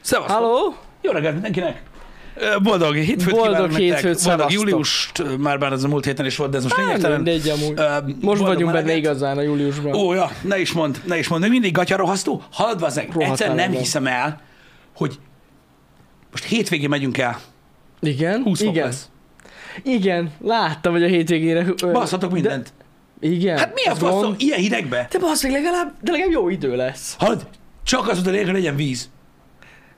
Szevasztok! Halló? Jó reggelt mindenkinek! Ö, Boldog hétfőt Boldog kívánok nektek. hétfőt, Boldog szevasztok. júliust, már bár ez a múlt héten is volt, de ez most Hát, lényegtelen. mindegy amúgy. Ö, Most boldog vagyunk benne meleget. igazán a júliusban. Ó, ja, ne is mond, ne is mond. Még mindig gatyarohasztó. Halad bazeg, Rohadt egyszer nem állandó. hiszem el, hogy most hétvégén megyünk el. igen? 20 fok igen. lesz. Igen, láttam, hogy a hétvégére... ö, Basszatok mindent. De, igen. Hát mi a Ez faszom gond. ilyen hidegbe? Te bassz, meg legalább, de legalább jó idő lesz. Halad, csak az, hogy lényeg legyen víz.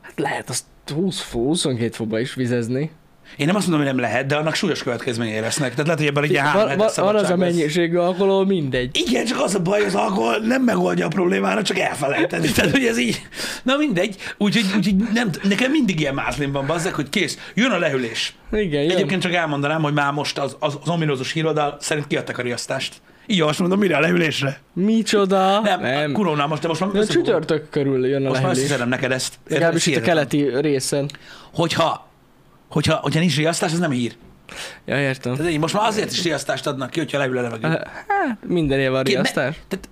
Hát lehet azt 20 fok, 22 fokba is vizezni. Én nem azt mondom, hogy nem lehet, de annak súlyos következményei lesznek. Tehát lehet, hogy ebben egy három Van, hetes van, van az hát szabadság a lesz. mennyiségű alkohol, mindegy. Igen, csak az a baj, az alkohol nem megoldja a problémára, csak elfelejteni. Tehát, hogy ez így, na mindegy. Úgyhogy, úgyhogy nem, t- nekem mindig ilyen mászlim van, bazzek, hogy kész, jön a lehűlés. Igen, jön. Egyébként csak elmondanám, hogy már most az, az, az ominózus hírodal szerint kiadták a riasztást. Így azt mondom, mire a lehűlésre? Micsoda? Nem, nem. nem. kurónál most, de most már A összefogom. csütörtök körül jön a Most már lehűlés. összeszedem neked ezt. Érted? Legalábbis itt a Hihetetlen. keleti részen. Hogyha, hogyha, hogyha nincs riasztás, az nem hír. Ja, értem. Tehát így most már azért is riasztást adnak ki, hogyha leül a levegő. Hát, minden évben Ki- me- riasztás. Tehát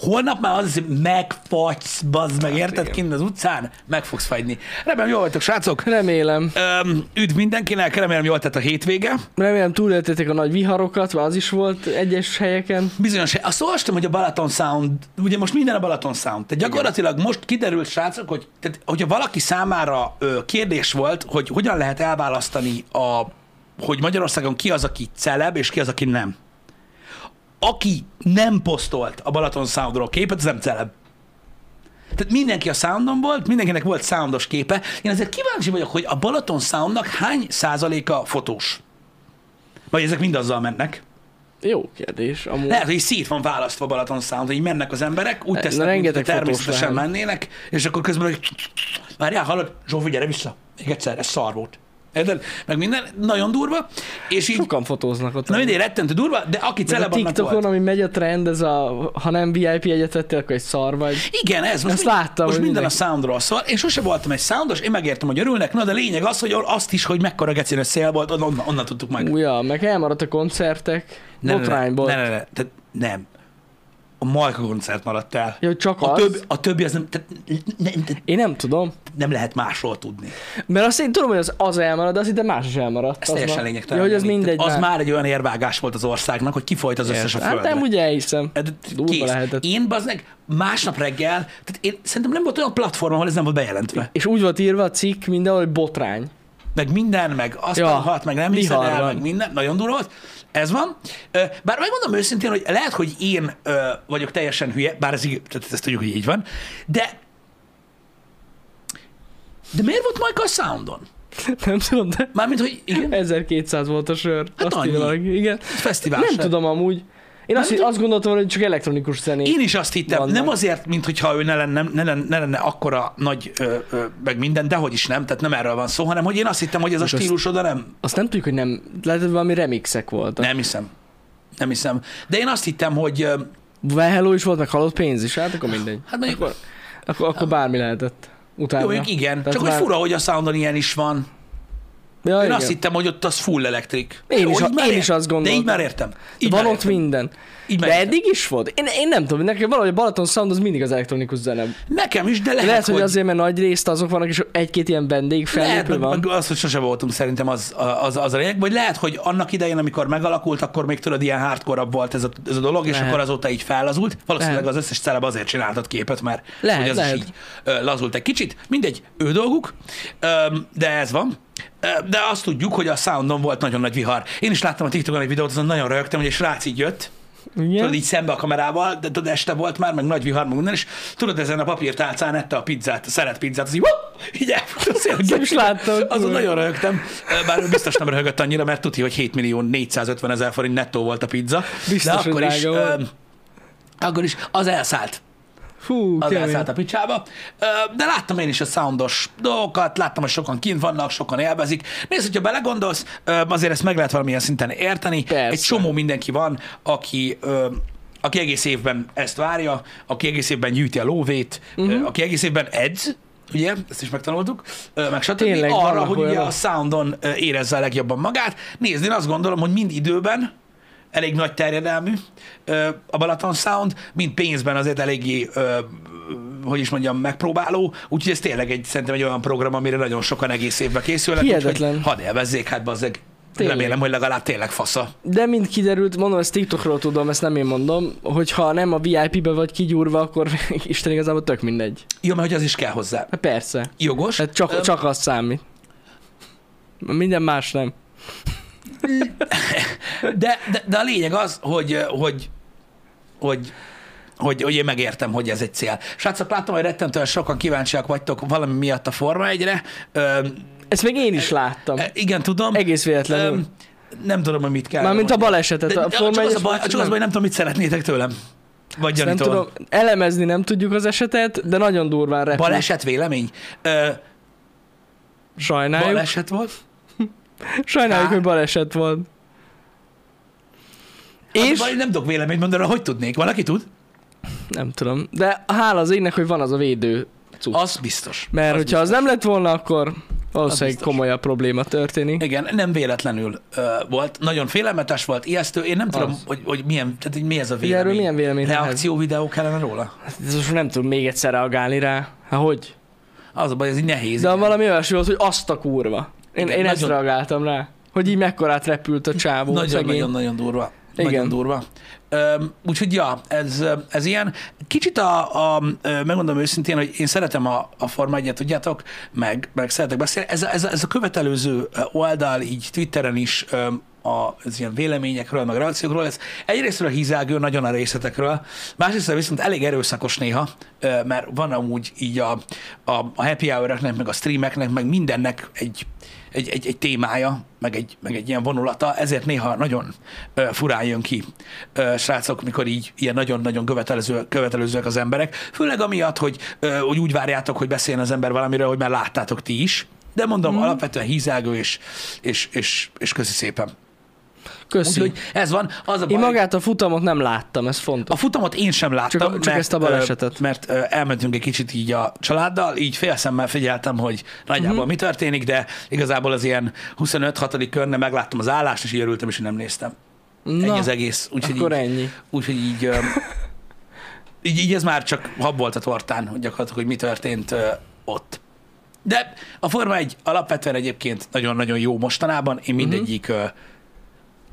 holnap már az, hogy megfagysz, bazd meg, érted? Kint az utcán meg fogsz fagyni. Remélem, jól vagytok, srácok. Remélem. Öm, üdv mindenkinek, remélem jól tett a hétvége. Remélem túléltétek a nagy viharokat, mert az is volt egyes helyeken. Bizonyos, azt olvastam, hogy a Balaton Sound, ugye most minden a Balaton Sound, tehát gyakorlatilag most kiderült, srácok, hogy tehát, hogyha valaki számára ö, kérdés volt, hogy hogyan lehet elválasztani, a, hogy Magyarországon ki az, aki celeb, és ki az, aki nem. Aki nem posztolt a Balaton Soundról képet, az nem celeb. Tehát mindenki a soundon volt, mindenkinek volt soundos képe. Én azért kíváncsi vagyok, hogy a Balaton Soundnak hány százaléka fotós? Vagy ezek mind azzal mennek? Jó kérdés, amúgy. Lehet, hogy szét van választva Balaton Sound, hogy mennek az emberek, úgy Na, tesznek, mintha rengeteg fotós természetesen lehet. mennének, és akkor közben hogy várjál, hallod, Zsófi, gyere vissza, még egyszer, ez szar volt. Érted? Meg minden, nagyon durva, és így, Sokan fotóznak ott. na mindig rettentő durva, de aki Meg a celeb annak TikTokon, volt. ami megy a trend, ez a, ha nem VIP egyet vettél, akkor egy szar vagy. Igen, ez most, Ezt mind- láttam, most hogy minden a mindenki- soundról szól. Én sose voltam egy soundos, én megértem, hogy örülnek, na de lényeg az, hogy azt is, hogy mekkora gecines szél volt, onnan, onnan tudtuk meg. Úja, meg elmaradt a koncertek. Botrányból. Ne, ne, ne, ne, tehát nem. A Majka koncert maradt el. Jó, csak a, az. több, a többi az nem, tehát ne, ne, Én nem tudom. nem lehet másról tudni. Mert azt én tudom, hogy az, az elmarad, de azt de más is elmaradt. Ez az teljesen már- lényegtelen. Ja, hogy az Tehát mindegy. Az már egy olyan érvágás volt az országnak, hogy kifolyt az összes a Hát földre. nem, ugye elhiszem. Hát, Durva Kész. lehetett. Én baznek másnap reggel, tehát én szerintem nem volt olyan platform, ahol ez nem volt bejelentve. És úgy volt írva a cikk mindenhol, hogy botrány. Meg minden, meg azt Ja, ja, hat, meg nem hiszed vihar el, van. meg minden. Nagyon durva volt. Ez van. Ö, Bár megmondom őszintén, hogy lehet, hogy én ö, vagyok teljesen hülye, bár ez, így- tehát ezt tudjuk, hogy így van, de de miért volt Majka a Soundon? Nem tudom, de Mármint, hogy igen, 1200 volt a sör. Hát azt annyi. írja valaki, igen. fesztivál Nem sem. tudom amúgy. Én azt, tudom. azt gondoltam, hogy csak elektronikus zené. Én is azt hittem, Vannak. nem azért, mintha ő ne lenne, ne lenne, ne lenne akkora nagy, ö, ö, meg minden, dehogy is nem, tehát nem erről van szó, hanem hogy én azt hittem, hogy ez a azt- stílus oda nem, Azt nem tudjuk, hogy nem. Lehet, hogy valami remixek voltak. nem hiszem. Nem hiszem. De én azt hittem, hogy ö, Well, hello is volt, meg halott pénz is, hát akkor mindegy. hát mondjuk, Akkor, akkor, akkor bármi lehetett. Utána. jó, mondjuk igen, Tehát csak hogy már- fura, hogy a soundon ilyen is van. Ja, Én igen. azt hittem, hogy ott az full elektrik. Én Jó, is- így már én ér- is azt De így gondoltam. már értem. Így Van már ott értem. minden. Így már De értem. eddig is volt. Én, én nem tudom, nekem valahogy a Balaton Sound az mindig az elektronikus zene. Nekem is, de lehet, Lehet, Lehet hogy, hogy azért, mert nagy részt azok vannak, és egy-két ilyen vendég Lehet, fellépő meg, van. meg az, hogy sose voltunk szerintem az, az, az a lényeg, vagy lehet, hogy annak idején, amikor megalakult, akkor még tudod, ilyen hardcore volt ez a, ez a dolog, és Lehet. akkor azóta így fellazult. Valószínűleg Lehet. az összes celeb azért csináltat képet, mert Lehet, hogy az lehet. is így ö, lazult egy kicsit. Mindegy, ő dolguk, Öm, de ez van. Ö, De azt tudjuk, hogy a soundon volt nagyon nagy vihar. Én is láttam a TikTokon egy videót, azon nagyon röhögtem, hogy egy srác így jött, Igen? tudod, így szembe a kamerával, de tudod, este volt már, meg nagy vihar, meg minden, és tudod, ezen a papírtálcán ette a pizzát, a szeret pizzát, az így, hopp, így elfut a szél. Nem is láttam. Azon nagyon röhögtem, bár ő biztos nem röhögött annyira, mert tudja, hogy 7 millió 450 ezer forint nettó volt a pizza. Biztos, de hogy akkor is, drága öm, akkor is az elszállt. Fú, Az kemény. elszállt a picsába. Ö, De láttam én is a soundos dolgokat, láttam, hogy sokan kint vannak, sokan élvezik. Nézd, hogyha belegondolsz, ö, azért ezt meg lehet valamilyen szinten érteni. Persze. Egy csomó mindenki van, aki, ö, aki egész évben ezt várja, aki egész évben gyűjti a lóvét, Mhm. uh-huh. aki egész évben edz, ugye, ezt is megtanultuk, ö, meg stb. Tényleg, arra, vannak hogy ugye olyanok. a soundon ö, érezze a legjobban magát. Nézd, én azt gondolom, hogy mind időben, elég nagy terjedelmű ö, a Balaton Sound, mint pénzben azért eléggé ö, hogy is mondjam, megpróbáló, úgyhogy ez tényleg egy, szerintem egy olyan program, amire nagyon sokan egész évben készülnek. Hihetetlen. úgyhogy Hadd élvezzék, hát bazzeg. Tényleg. Remélem, hogy legalább tényleg fasza. De mint kiderült, mondom, ezt TikTokról tudom, ezt nem én mondom, hogyha nem a VIP-be vagy kigyúrva, akkor Isten igazából tök mindegy. Jó, mert hogy az is kell hozzá. Hát persze. Jogos? Hát csak, Öm, csak az számít. Minden más nem. De, de, de a lényeg az, hogy, hogy, hogy, hogy, hogy én megértem, hogy ez egy cél. Srácok, látom, hogy rettentően sokan kíváncsiak vagytok valami miatt a Forma 1-re. Ö, Ezt még én is láttam. e, igen, tudom. Egész véletlenül. Öm, nem tudom, hogy mit kell. Mármint a balesetet. de, a de, csak, az a egyes baj, volt, csak az nem. baj, nem tudom, mit szeretnétek tőlem. Vagy nem gyanítól. tudom, elemezni nem tudjuk az esetet, de nagyon durván repül. Baleset vélemény? Ö, Sajnáljuk. baleset volt? Hát, Sajnáljuk, Á. hogy baleset volt. És? És Hát, nem tudok véleményt mondani, hogy tudnék. Valaki tud? nem tudom, de hála az égnek, hogy van az a védő cucc. Az biztos. Mert az hogyha az nem lett volna, akkor valószínűleg biztos. komolyabb probléma történik. Igen, nem véletlenül ö, volt. Nagyon félelmetes volt, ijesztő. Én nem tudom, Az. hogy, hogy milyen, tehát hogy mi ez a Ugye vélemény. erről milyen vélemény Reakció videó kellene róla? lehet? Ez most nem tudom még egyszer reagálni rá. Hát hogy? Az a baj, ez így nehéz. De igen. valami olyasmi volt, hogy azt a kurva. Én, Igen, én ezt nagyon- reagáltam rá. Hogy így mekkorát repült a csávó, Nagyon, szegény. nagyon, nagyon durva. Igen. Nagyon durva. Öm, úgyhogy ja, ez, ez ilyen. Kicsit a, a, ö, megmondom őszintén, hogy én szeretem a, a Forma 1 tudjátok, meg, meg szeretek beszélni. Ez, a- ez, a- ez a követelőző oldal, így Twitteren is öm, a, az ilyen véleményekről, meg reakciókról, ez egyrésztről a hízágő nagyon a részletekről, másrészt viszont elég erőszakos néha, ö, mert van amúgy így a, a, a happy hour meg a streameknek, meg mindennek egy, egy, egy, egy témája, meg egy, meg egy ilyen vonulata, ezért néha nagyon ö, furán jön ki, ö, srácok, mikor így ilyen nagyon-nagyon követelező, követelőzőek az emberek, főleg amiatt, hogy, ö, hogy úgy várjátok, hogy beszéljen az ember valamiről, hogy már láttátok ti is, de mondom, Mhm. hmm. alapvetően hízágő, és, és, és, és köszi szépen. Köszi. Úgyhogy ez van. Az a baj, Én magát a futamot nem láttam, ez a fontos. futamot én sem láttam, Csak a- csak ezt a balesetet. ö, Mert ö, elmentünk egy kicsit így a családdal, így félszemmel figyeltem, hogy nagyjából Mhm. uh-huh. mi történik, de igazából az ilyen 25-6. körnél megláttam az állást, és így örültem, és én nem néztem. Na, ennyi az egész. Úgyhogy akkor így, ennyi. Úgyhogy így, ö, így, így ez már csak hab volt a tortán, hogy gyakorlatilag, hogy mi történt ö, ott. De a Forma egy alapvetően egyébként nagyon-nagyon jó mostanában. Mhm. Én mindegyik, uh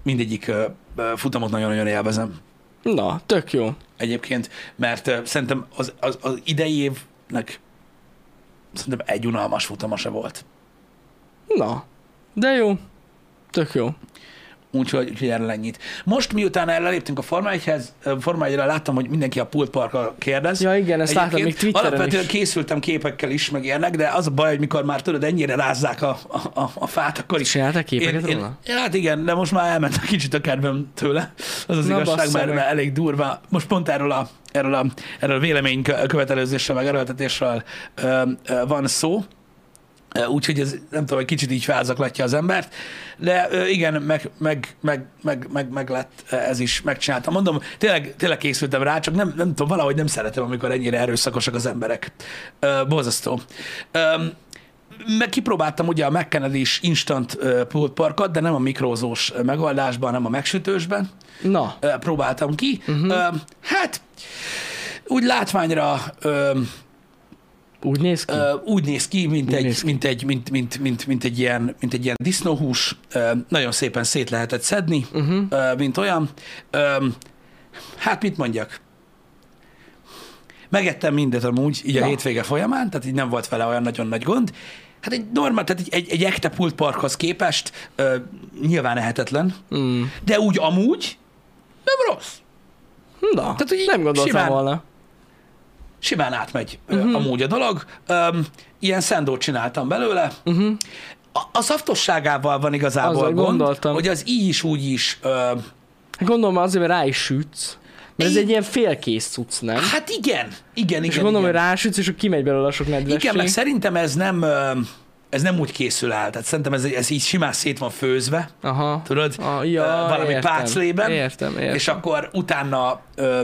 mindegyik ö, ö, futamot nagyon-nagyon élvezem Na, tök jó. egyébként, mert ö, szerintem az, az, az idei évnek szerintem egy unalmas futama se volt. Na, de jó. Tök jó. Úgyhogy, úgyhogy erről ennyit. Most miután elléptünk a Forma 1-hez, ö, Forma 1 láttam, hogy mindenki a pultparkkal kérdez. Ja igen, ezt láttam még Egyébként Twitteren Alapvetően is. készültem képekkel is, meg ilyenek, de az a baj, hogy mikor már tudod, ennyire rázzák a, a, a, a fát, akkor is. Csináltál képeket én, róla? én, hát igen, de most már elment a kicsit a kedvem tőle. Az az Na, igazság, bassza mert, meg. mert elég durva. Most pont erről a, erről a, erről a véleménykövetelőzésről, meg erőltetésről ö, ö, van szó. Ö, Úgyhogy ez nem tudom, egy kicsit így felzaklatja az embert, de ö, igen, meg, meg, meg, meg, meg, meg lett ö, ez is, megcsináltam. Mondom, tényleg, tényleg készültem rá, csak nem, nem tudom, valahogy nem szeretem, amikor ennyire erőszakosak az emberek. Ö, Borzasztó. Öm, meg kipróbáltam ugye a mckenedy is instant ö, pulled parkat, de nem a mikrózós ö, megoldásban, hanem a megsütősben Na, ö, próbáltam ki. Mhm. Uh-huh. Hát, úgy látványra ö, úgy néz ki? Ö, úgy néz ki, mint Úgy egy, néz ki. Mint, egy, mint, mint, mint, mint, egy ilyen, mint egy ilyen disznóhús. Ö, nagyon szépen szét lehetett szedni, Mhm. uh-huh. ö, mint olyan. Ö, hát mit mondjak? Megettem mindet amúgy, így a Na. hétvége folyamán, tehát így nem volt vele olyan nagyon nagy gond. Hát egy normál, tehát egy, egy, egy ekte pult parkhoz képest ö, nyilván ehetetlen, Mm. de úgy amúgy nem rossz. Na, Tehát, hogy így nem gondoltam simán- volna. simán átmegy Mhm. uh-huh. amúgy a dolog. Öm, ilyen szendót csináltam belőle. Uh-huh. A, a szaftosságával van igazából Mhm. Azzal gond, gondoltam. hogy az így is, úgy is. Ö, Hát Gondolom azért, mert rá is sütsz. Mert ez Én- egy ilyen félkész cucc, nem? hát igen, igen, és igen. gondolom, igen. hogy rásütsz, és akkor kimegy belőle a sok nedvesség. Igen, meg szerintem ez nem, ö, ez nem úgy készül el. Tehát szerintem ez, ez így simán szét van főzve, Aha. tudod, Ah, ja, Ö, valami értem. páclében, Értem, értem. és akkor utána ö,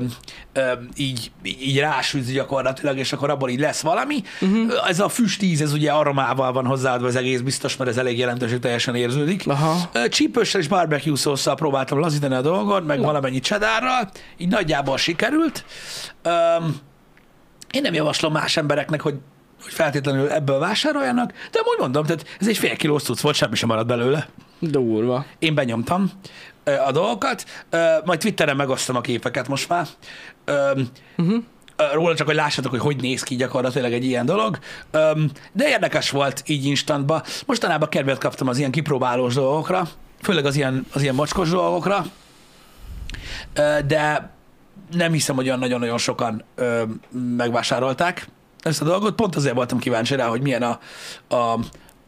ö, így, így rásűz gyakorlatilag, és akkor abból így lesz valami. Mhm. Uh-huh. Ez a füstíz, ez ugye aromával van hozzáadva az egész, biztos, mert ez elég jelentős, teljesen érződik. Aha. Ö, Csípőssel és barbecue szószal próbáltam lazítani a dolgon, meg valamennyi csedárral, így nagyjából sikerült. Öm, Én nem javaslom más embereknek, hogy, hogy feltétlenül ebből vásároljanak, de amúgy mondom, tehát ez egy fél kilós cucc volt, semmi sem maradt belőle. Durva. Én benyomtam ö, a dolgokat, ö, majd Twitteren megosztom a képeket most már. Ö, ö, Róla csak, hogy lássatok, hogy hogy néz ki gyakorlatilag egy ilyen dolog. Ö, De érdekes volt így instantba. Mostanában kedvet kaptam az ilyen kipróbálós dolgokra, főleg az ilyen, az ilyen mocskos dolgokra, Ö, de nem hiszem, hogy olyan nagyon-nagyon sokan ö, megvásárolták ezt a dolgot. Pont azért voltam kíváncsi rá, hogy milyen a, a,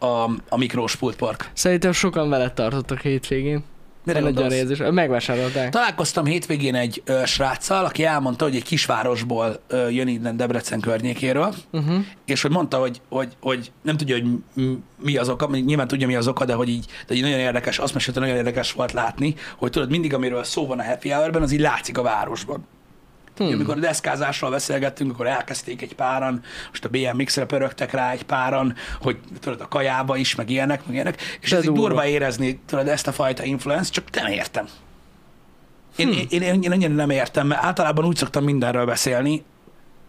a, a mikrós pultpark. Szerintem sokan veled tartottak hétvégén. Mire Van egy olyan gondolsz? érzés. Megvásárolták. Találkoztam hétvégén egy ö, sráccal, aki elmondta, hogy egy kisvárosból ö, jön innen Debrecen környékéről, Uh-huh. és hogy mondta, hogy, hogy, hogy nem tudja, hogy m- mi az oka, mondjuk nyilván tudja, mi az oka, de hogy így, de így nagyon érdekes, azt mesélte, nagyon érdekes volt látni, hogy tudod, mindig amiről szó van a happy hourben, az így látszik a városban. Hmm. Hm. Amikor a deszkázásról beszélgettünk, akkor elkezdték egy páran, most a BMX-re pörögtek rá egy páran, hogy tudod, a kajába is, meg ilyenek, meg ilyenek, és De ez így durva. durva érezni, tudod, ezt a fajta influence, csak nem értem. Én, Hm. hmm. én, én, én annyira nem értem, mert általában úgy szoktam mindenről beszélni,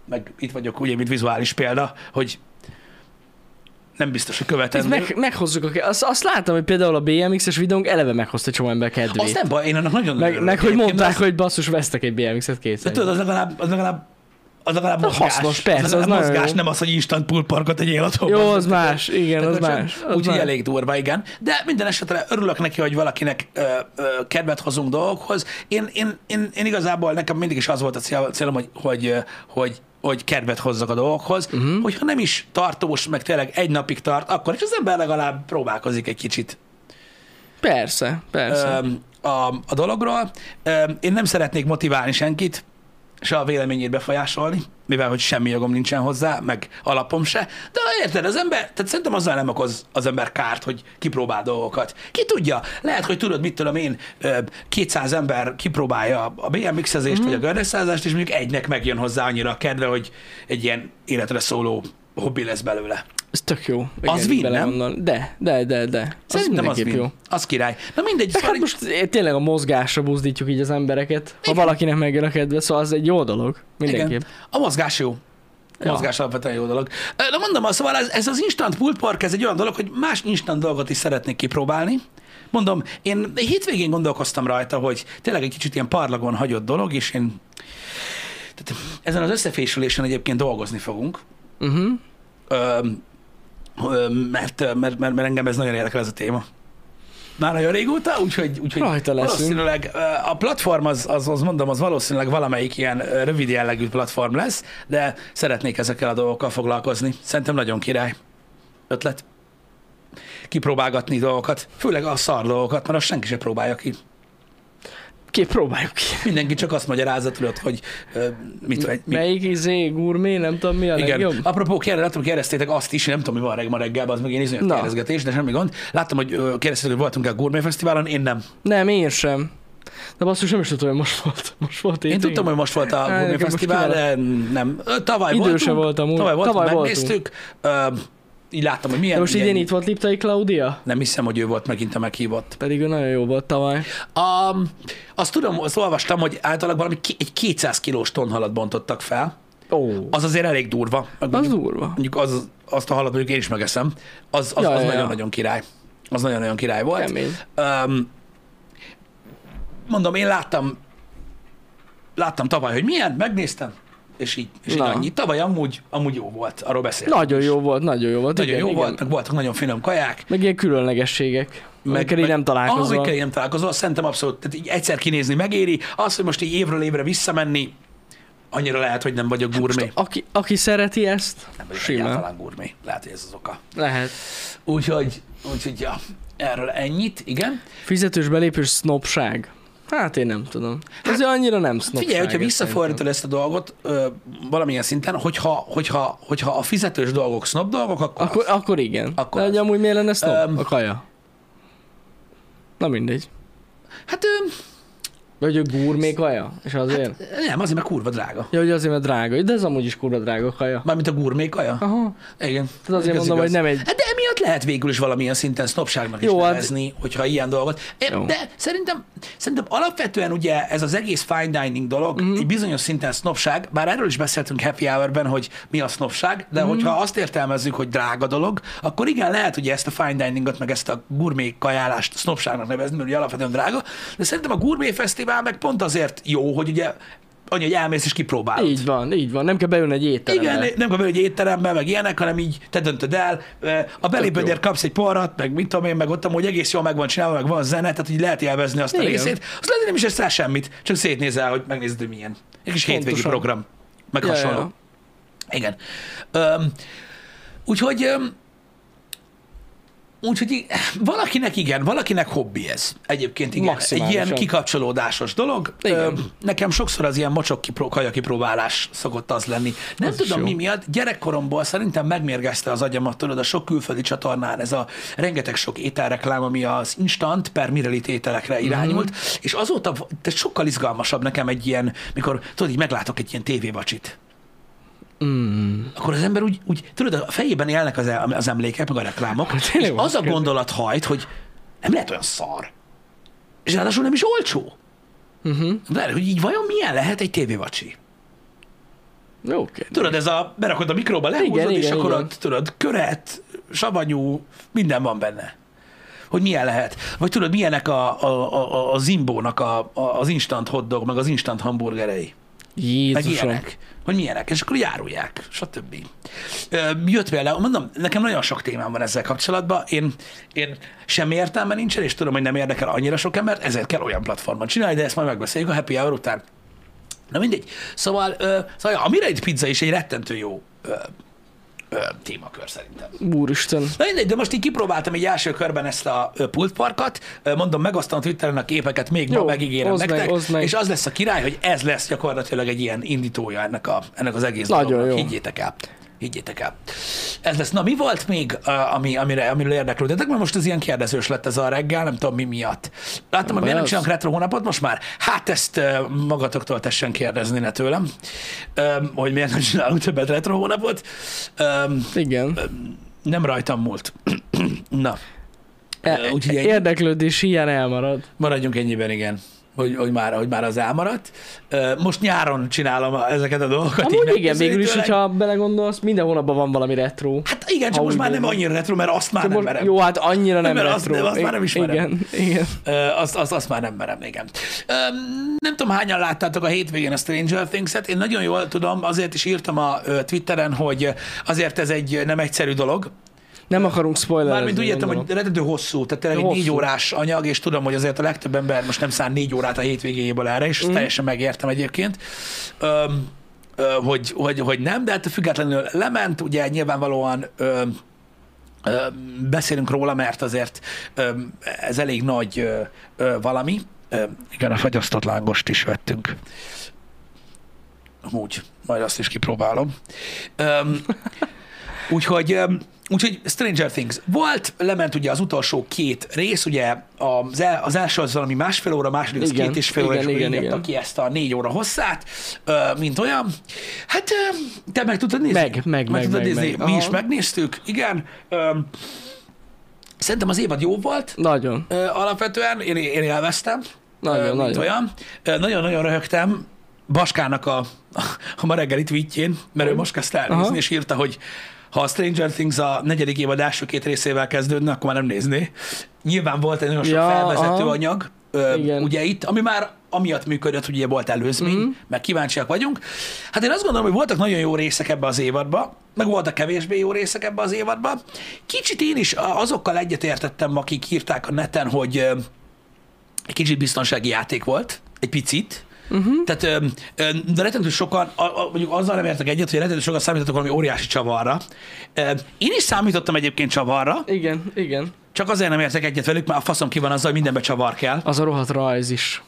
meg itt vagyok ugye, mint vizuális példa, hogy nem biztos, hogy Ez követem. meg, meghozzuk a ke- azt, azt láttam, hogy például a BMX-es videónk eleve meghozta egy csomó ember kedvét. Az nem baj, én annak nagyon meg, örülök. meg hogy Egyébként mondták, az- hogy basszus, vesztek egy BMX-et De kétszer. tudod, az legalább, az legalább az legalább Na, mozgás. hasznos, persze, az legalább az nagyon mozgás, jó. nem az, hogy instant pool parkot egy otthon. Jó, az más, igen, az más. az Úgyhogy más. elég durva, igen. De minden esetre örülök neki, hogy valakinek ö, ö, kedvet hozunk dolgokhoz. Én, én, én, én igazából nekem mindig is az volt a cél- célom, hogy, hogy, ö, hogy hogy kedvet hozzak a dolgokhoz, Mhm. uh-huh. hogyha nem is tartós, meg tényleg egy napig tart, akkor is az ember legalább próbálkozik egy kicsit Persze, persze. öm, a, a dologról. Öm, Én nem szeretnék motiválni senkit, se a véleményét befolyásolni, mivel hogy semmi jogom nincsen hozzá, meg alapom se. De érted, az ember, tehát szerintem azzal nem okoz az ember kárt, hogy kipróbál dolgokat. Ki tudja, lehet, hogy tudod, mit tudom én, ö, 200 ember kipróbálja a BMX-ezést, Mhm. mm-hmm. vagy a gördesztázást, és mondjuk egynek megjön hozzá annyira a kedve, hogy egy ilyen életre szóló hobbi lesz belőle. Ez tök jó. Az win, nem? belegondolni. De, de, de, de. Az Szerintem az, mindenképp az, jó. az király. Na mindegy, Meg szóval hát most é- tényleg a mozgásra buzdítjuk így az embereket. Ha valakinek megjön a kedve, szóval az egy jó dolog. Mindenképp. Igen. A mozgás jó. A Ja. mozgás alapvetően jó dolog. Ö, Na mondom, azt, szóval ez, ez az instant pool park, ez egy olyan dolog, hogy más instant dolgot is szeretnék kipróbálni. Mondom, én hétvégén gondolkoztam rajta, hogy tényleg egy kicsit ilyen parlagon hagyott dolog, és én tehát ezen az összefésülésen egyébként dolgozni fogunk, Uh-huh. ö, ö, mert, mert, mert, mert engem ez nagyon érdekel ez a téma. Már nagyon régóta, úgyhogy, úgyhogy Rajta leszünk. valószínűleg ö, a platform, az, az, az mondom, az valószínűleg valamelyik ilyen ö, rövid jellegű platform lesz, de szeretnék ezekkel a dolgokkal foglalkozni. Szerintem nagyon király ötlet. Kipróbálgatni dolgokat, főleg a szar dolgokat, mert azt senki se próbálja ki. Ki, próbáljuk ki. Mindenki csak azt magyarázza, tudod, hogy ö, mit, mit, mit Melyik izé, gurmé, nem tudom mi a Igen. legjobb. Apropó, kérde, láttam, kérdeztétek azt is, nem tudom, mi van reg, ma reggel, az meg én iszonyat Na. kérdezgetés, de semmi gond. Láttam, hogy ö, kérdeztétek, hogy voltunk-e a Gourmet Fesztiválon, én nem. Nem, én sem. De basszus, nem is tudtam, hogy most volt. Most volt Én, hétvégén. tudtam, hogy most volt a nekem Gourmet most Fesztivál, de nem. Ö, Tavaly Idő se voltunk. voltam úgy. Tavaly voltunk, Tavaly voltunk. megnéztük. Ö, így láttam, hogy milyen. De most idén milyen- itt volt Liptai Klaudia? Nem hiszem, hogy ő volt megint a meghívott. Pedig ő nagyon jó volt tavaly. A, azt tudom, azt olvastam, hogy általában valami ki- egy 200 kilós tonhalat bontottak fel. Ó, Az azért elég durva. az durva. mondjuk az, azt a halat mondjuk én is megeszem, az, az, Ja, az ja, ja. nagyon-nagyon király. Az nagyon-nagyon király volt. Kemény. Um, mondom, én láttam, láttam tavaly, hogy milyen, megnéztem, és így, és így Na. annyi. Tavaly amúgy, amúgy jó volt, arról beszéltem. Nagyon jó volt, nagyon jó volt. Nagyon igen, jó igen. volt, meg voltak nagyon finom kaják. Meg ilyen különlegességek. Meg, meg nem Ah, találkozol. amikkel így nem találkozol, azt szerintem abszolút, tehát így egyszer kinézni megéri, az, hogy most így évről évre visszamenni, annyira lehet, hogy nem vagyok gurmé. Aki, aki szereti ezt, Nem vagyok Hát simán. egyáltalán gurmé. Lehet, hogy ez az oka. Lehet. Úgyhogy, úgyhogy ja, erről ennyit, igen. Fizetős belépős sznopság. Hát én nem tudom. Ez annyira nem sznopság. Hát Figyelj, hogyha ez visszafordítod ezt a dolgot ö, valamilyen szinten, hogyha, hogyha, hogyha a fizetős dolgok snob dolgok, akkor, Akkor, akkor akkor igen. Akkor Akkor De hogy az. amúgy miért lenne sznop? Öm. a kaja. Na mindegy. hát ö, Vagy ő gurmé kaja? És azért? nem, azért, mert kurva drága. Ja, hogy azért, mert drága. De ez amúgy is kurva drága kaja. Mármint a gurmé kaja. Aha. Igen. Tehát azért mondom, hogy nem egy- Hát de mi hát lehet végül is valamilyen szinten sznopságnak is Jó, hát- nevezni, hogyha ilyen dolgot. É, Jó. De szerintem, szerintem alapvetően ugye ez az egész fine dining dolog Mhm. mm-hmm. egy bizonyos szinten sznopság, bár erről is beszéltünk happy hour-ben, hogy mi a sznopság, Mhm. de mm-hmm. hogyha azt értelmezzük, hogy drága dolog, akkor igen, lehet ugye ezt a fine diningot, meg ezt a gurmé kajálást sznopságnak nevezni, mert ugye alapvetően drága, de szerintem a gurmé fesztivál meg pont azért jó, hogy ugye annyi, hogy elmész és kipróbálod. Így van, így van. Nem kell bejönni egy étterembe. Igen, nem kell egy étterembe, meg ilyenek, hanem így te döntöd el. A belépődért kapsz egy porrat, meg mit tudom én, meg ott amúgy egész jól meg van csinálva, meg van zene, tehát így lehet élvezni azt a Igen. részét. Azt lehet, hogy nem is eszel semmit, csak szétnézel, hogy megnézed, hogy milyen. Egy kis hétvégi Pontosan. program, meg Ja, ja, hasonló. ja. Igen. Öm, úgyhogy, öm, úgyhogy i- valakinek igen, valakinek hobbi ez. Egyébként igen. Egy Maximálisan. ilyen kikapcsolódásos dolog. Igen. Öm, nekem sokszor az ilyen mocsok kipró, kaja kipróbálás szokott az lenni. Nem Az is tudom jó. mi miatt, gyerekkoromból szerintem megmérgezte az agyamat, tudod, a sok külföldi csatornán ez a rengeteg sok ételreklám, ami az instant per mirelit ételekre Mhm. irányult, mm-hmm. és azóta v- de sokkal izgalmasabb nekem egy ilyen, mikor tudod, így meglátok egy ilyen tévébacsit Mm. akkor az ember úgy, úgy tudod, a fejében élnek az, el- az emlékek, meg a reklámok, Hát Tényleg és van az a kérdés. gondolat hajt, hogy nem lehet olyan szar. És ráadásul nem is olcsó. Uh-huh. De hogy így vajon milyen lehet egy tévévacsi? Jó kérdés. Tudod, ez a berakod a mikróba, lehúzod, Igen, és igen, akkor igen. ott, tudod, köret, savanyú, minden van benne. Hogy milyen lehet. Vagy tudod, milyenek a, a, a, a zimbónak a, a, az instant hotdog, meg az instant hamburgerei. meg Jézusom. ilyenek, hogy milyenek, és akkor járulják, stb. Ö, Jött vele, mondom, nekem nagyon sok témám van ezzel kapcsolatban, én, én semmi értelme nincsen, és tudom, hogy nem érdekel annyira sok embert, ezért kell olyan platformon csinálni, de ezt majd megbeszéljük a happy hour után. Na mindegy. Szóval, ö, szóval ja, a Mireid pizza is egy rettentő jó ö, ö, témakör szerintem. Úristen. Na mindegy, de most így kipróbáltam egy első körben ezt a ö, pultparkat, Ö, mondom, megosztom a Twitteren a képeket, még Jó, ma Jó, megígérem oszd meg, nektek, oszd meg. és az lesz a király, hogy ez lesz gyakorlatilag egy ilyen indítója ennek, a, ennek az egész Nagyon dolognak. jó. Higgyétek el. Higgyétek el. Ez lesz. Na, mi volt még, ö, ami, amire, amiről érdeklődtetek? Mert most ez ilyen kérdezős lett ez a reggel, nem tudom mi miatt. Láttam, hogy miért nem az. csinálunk retro hónapot most már? Hát ezt ö, magatoktól tessen kérdezni ne tőlem, Ö, hogy miért nem csinálunk többet retro hónapot. Ö, Igen. nem rajtam múlt. Na, E- úgyhogy egy- érdeklődés ilyen elmarad. maradjunk ennyiben, igen. Hogy, hogy, már, hogy már az elmaradt. Ö, Most nyáron csinálom a- ezeket a dolgokat. így Amúgy igen, végül is, megközelítőleg. hogyha belegondolsz, minden hónapban van valami retro. Hát igen, csak Ha most úgy már nem gondolod. annyira retro, mert azt már Csak nem most, merem. jó, hát annyira nem Mert azt- retro. azt már nem ismerem. Igen, igen. Ö, azt, azt, azt már nem merem, igen. Ö, nem tudom, hányan láttátok a hétvégén a Stranger Things-et. Én nagyon jól tudom, azért is írtam a ö, Twitteren, hogy azért ez egy nem egyszerű dolog. Nem akarunk spoilerezni. Mármint úgy értem, gondolom. hogy rettentő hosszú, tehát tényleg egy Hosszú. négy órás anyag, és tudom, hogy azért a legtöbb ember most nem szán négy órát a hétvégéjéből erre, Mhm. és mm. teljesen megértem egyébként. Öm, ö, hogy, hogy, hogy nem, de hát függetlenül lement, ugye nyilvánvalóan öm, öm, beszélünk róla, mert azért öm, ez elég nagy ö, ö, valami. Öm, igen, a fagyasztott lángost is vettünk. Úgy, majd azt is kipróbálom. Öm, Úgyhogy, öm, úgyhogy Stranger Things volt, lement ugye az utolsó két rész, ugye az, el, az első az valami másfél óra, második az Igen, két és fél óra, és igen, akkor igen, írta igen. ki ezt a négy óra hosszát, ö, mint olyan. Hát ö, te meg tudtad nézni? Meg, meg, meg, meg, tudtad meg, nézni. meg. Mi is Aha. megnéztük, igen. Öm, Szerintem az évad jó volt, Nagyon, Ö, alapvetően én, én élveztem. Nagyon, Ö, mint nagyon. Olyan. Ö, Nagyon-nagyon röhögtem Baskának a, a ma reggeli tweetjén, mert ő most kezdte elnézni, Aha. és írta, hogy ha a Stranger Things a negyedik évad első két részével kezdődne, akkor már nem nézné. Nyilván volt egy nagyon sok Ja, felvezető aha. anyag, ö, Igen. ugye itt, ami már amiatt működött, hogy ugye volt előzmény, mm-hmm. meg kíváncsiak vagyunk. Hát én azt gondolom, hogy voltak nagyon jó részek ebbe az évadba, meg voltak kevésbé jó részek ebbe az évadba. Kicsit én is a- azokkal egyetértettem, akik írták a neten, hogy ö, egy kicsit biztonsági játék volt, egy picit. Uh-huh. Tehát, ö, ö, de rettentő sokan, a, a, mondjuk azzal nem értek egyet, hogy rettentő sokan számítottak valami óriási csavarra. Ö, Én is számítottam egyébként csavarra, igen, igen. csak azért nem értek egyet velük, mert a faszom ki van azzal, hogy mindenbe csavar kell. Az a rohadt rajz is.